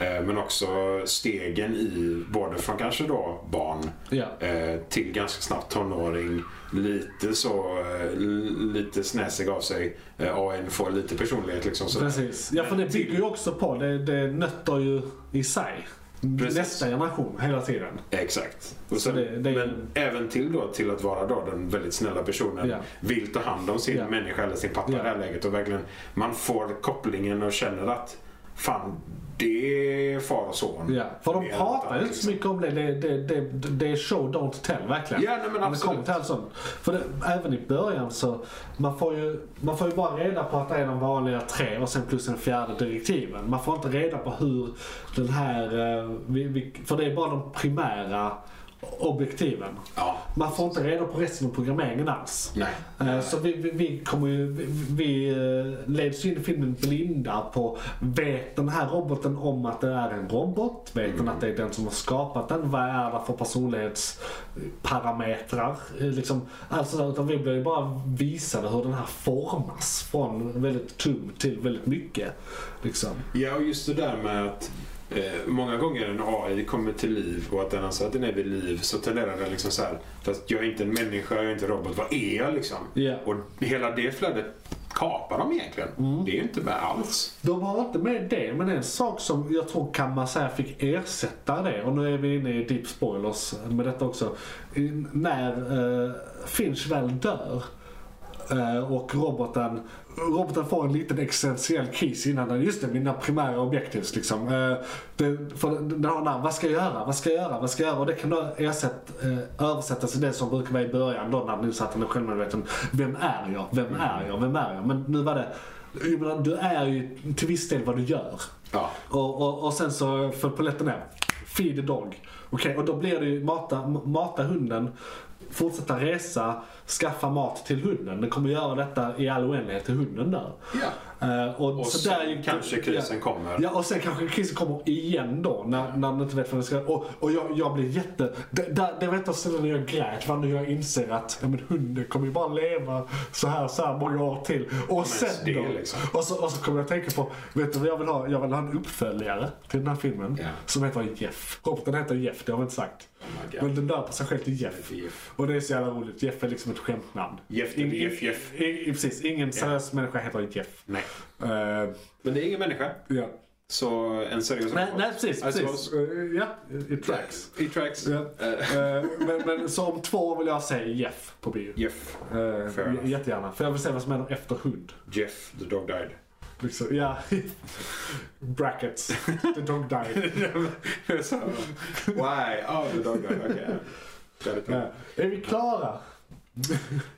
D: eh, men också stegen i både från kanske då barn
A: Ja.
D: eh, till ganska snabbt tonåring. Lite så, eh, l- lite snäsig av sig. Eh, AN får lite personlighet liksom. Så
A: Precis. Ja, för det bygger ju också på, det, det nötter ju i sig.
D: Precis.
A: Nästa generation hela tiden.
D: Exakt. Och
A: Så
D: sen,
A: det- det är-
D: Men även till då till att vara då den väldigt snälla personen.
A: Ja.
D: Vill ta hand om sin
A: Ja.
D: människa eller sin pappa i
A: Ja.
D: det här läget. Och verkligen, man får kopplingen och känner att fan det är far och son.
A: Ja, för de
D: Mer än
A: pratar
D: annat,
A: ju inte så
D: liksom.
A: mycket om det. Det, det, det, det är show, don't tell verkligen.
D: Ja, nej, men
A: När det
D: absolut.
A: kommer till allt sånt. För det, även i början så, man får, ju, man får ju bara reda på att det är de vanliga tre och sen plus den fjärde direktiven. Man får inte reda på hur den här, eh, vi, vi, för det är bara de primära objektiven.
D: Ja.
A: Man får inte reda på resten av programmeringen alls.
D: Nej.
A: Eh, Så vi, vi, vi kommer ju, vi, vi eh, leds ju in i filmen blinda på, vet den här roboten om att det är en robot? Vet den att det är den som har skapat den? Vad är det för personlighetsparametrar? Eh, Liksom, alltså, där, utan vi blir ju bara visade hur den här formas från väldigt tum till väldigt mycket. Liksom.
D: Ja, och just det där med att eh, många gånger en AI kommer till liv och att den anser att den är vid liv så tenderar den liksom så här, fast jag är inte en människa, jag är inte en robot, vad är jag liksom?
A: Ja.
D: Och hela det flödet kapar de egentligen.
A: Mm.
D: Det är ju inte med alls.
A: De har inte med det, men en sak som jag tror kan man säga fick ersätta det, och nu är vi inne i deep spoilers med detta också. I- När eh, Finch väl dör eh, och roboten, roboten får en liten existentiell kris innan den, just det, mina primära objektivs liksom. Eh, det, för den den har den här, vad ska jag göra, vad ska jag göra, vad ska jag göra? Och det kan då ersätt, eh, översättas till det som brukar vara i början då när den insatte den är självmedveten. Vem är jag, vem är jag, vem är jag? Men nu var det jag menar, du är ju till viss del vad du gör.
D: Ja.
A: Och, och, och sen så föll polletten ner. Feed the dog. Okej, och då blir det ju mata, m- mata hunden, fortsätta resa, skaffa mat till hunden. Den kommer göra detta i all oändlighet till hunden där.
D: Ja.
A: Eh, och,
D: Och
A: så där
D: sen
A: är ju-
D: kanske krisen kommer.
A: Ja, och sen kanske krisen kommer igen då när, när man inte vet vad den ska Och, och jag, jag blir jätte... Det, där, det var ett av ställena jag grät var när jag inser att ja, men hunden kommer ju bara leva så här, så här många år till. Och sen
D: det
A: då?
D: liksom.
A: Och så, och så kommer jag att tänka på, vet du vad jag vill ha? Jag vill ha en uppföljare till den här filmen.
D: Ja. Oh
A: Som heter Jeff. Roboten heter Jeff, det har vi inte sagt.
D: my God.
A: men den döper sig själv till Jeff.
D: Jeff.
A: Och det är så jävla roligt. Jeff är liksom ett skämtnamn.
D: Jeff, det är Jeff, Jeff.
A: I, i, precis, ingen seriös människa heter Jeff.
D: Nej.
A: Eh,
D: Men det är ingen människa,
A: ja.
D: så en seriös Alltså,
A: Nej,
D: robot.
A: nej precis.
D: I
A: precis.
D: suppose.
A: Eh, ja, it tracks.
D: It tracks.
A: Ja. Eh, men, men så om två år vill jag säga Jeff på bio.
D: Jeff.
A: Eh,
D: Fair enough.
A: jättegärna. För jag vill se vad som händer efter hund.
D: Jeff, the dog died.
A: Liksom, ja. Brackets. The dog died.
D: Så, Why? Oh, the dog died. Okej. Väldigt bra.
A: Ja. Är vi klara?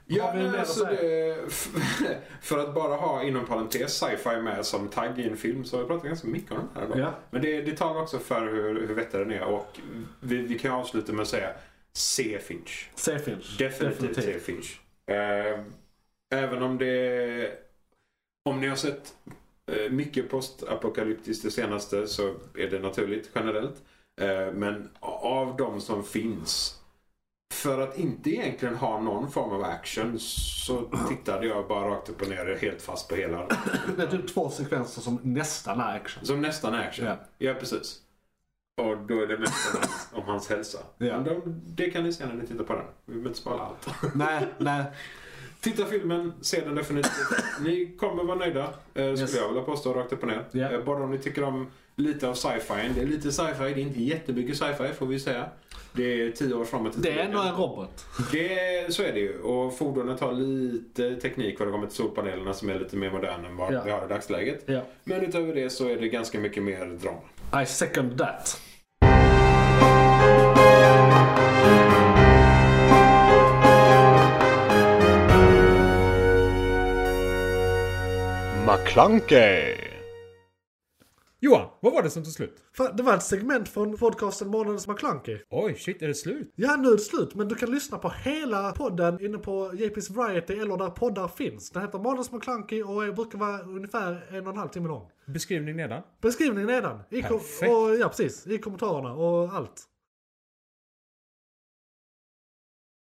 D: Ja,
A: Har vi
D: men
A: mer att
D: alltså
A: säga?
D: det, f- för att bara ha inom parentes sci-fi med som tagg i en film så har vi pratat ganska mycket om den här idag.
A: Ja.
D: Men det, det talar också för hur, hur vettig den är och vi, vi kan avsluta med att säga se Finch.
A: Se Finch.
D: Definitivt, se Finch. Eh, även om det om ni har sett eh, mycket postapokalyptiskt det senaste så är det naturligt generellt. Eh, men av de som finns för att inte egentligen ha någon form av action så tittade jag bara rakt upp och ner helt fast på hela.
A: Det är typ två sekvenser som nästan är action.
D: Som nästan action.
A: Ja.
D: Ja, precis. Och då är det mest om hans, om hans hälsa.
A: Ja.
D: Men de, det kan ni se när ni tittar på den. Vi behöver inte spara allt.
A: nej, nej.
D: Titta filmen, se den definitivt. Ni kommer vara nöjda, eh, skulle
A: Yes.
D: jag vilja påstå rakt upp och ner.
A: Ja.
D: Eh, bara om ni tycker om lite av sci-fi. Det är lite sci-fi, det är inte jättemycket sci-fi får vi säga. Det är tio år framåt i
A: Det är
D: tiden.
A: ändå en robot.
D: Det, så är det ju. Och fordonet har lite teknik vad det kommer till solpanelerna som är lite mer modern än vad
A: Ja.
D: vi har i dagsläget.
A: Ja.
D: Men utöver det så är det ganska mycket mer drama.
A: I second that.
C: McClunkey!
B: Johan, vad var det som tog slut?
A: Fan, Det var ett segment från podcasten Månadens McClunky.
B: Oj, shit, är det slut?
A: Ja, nu är det slut, men du kan lyssna på hela podden inne på JP's Variety eller där poddar finns. Den heter Månadens McClunky och är- brukar vara ungefär en och en halv timme lång.
B: Beskrivning nedan.
A: Beskrivningen nedan. I kom-
B: Perfekt.
A: och, ja, precis. I kommentarerna och allt.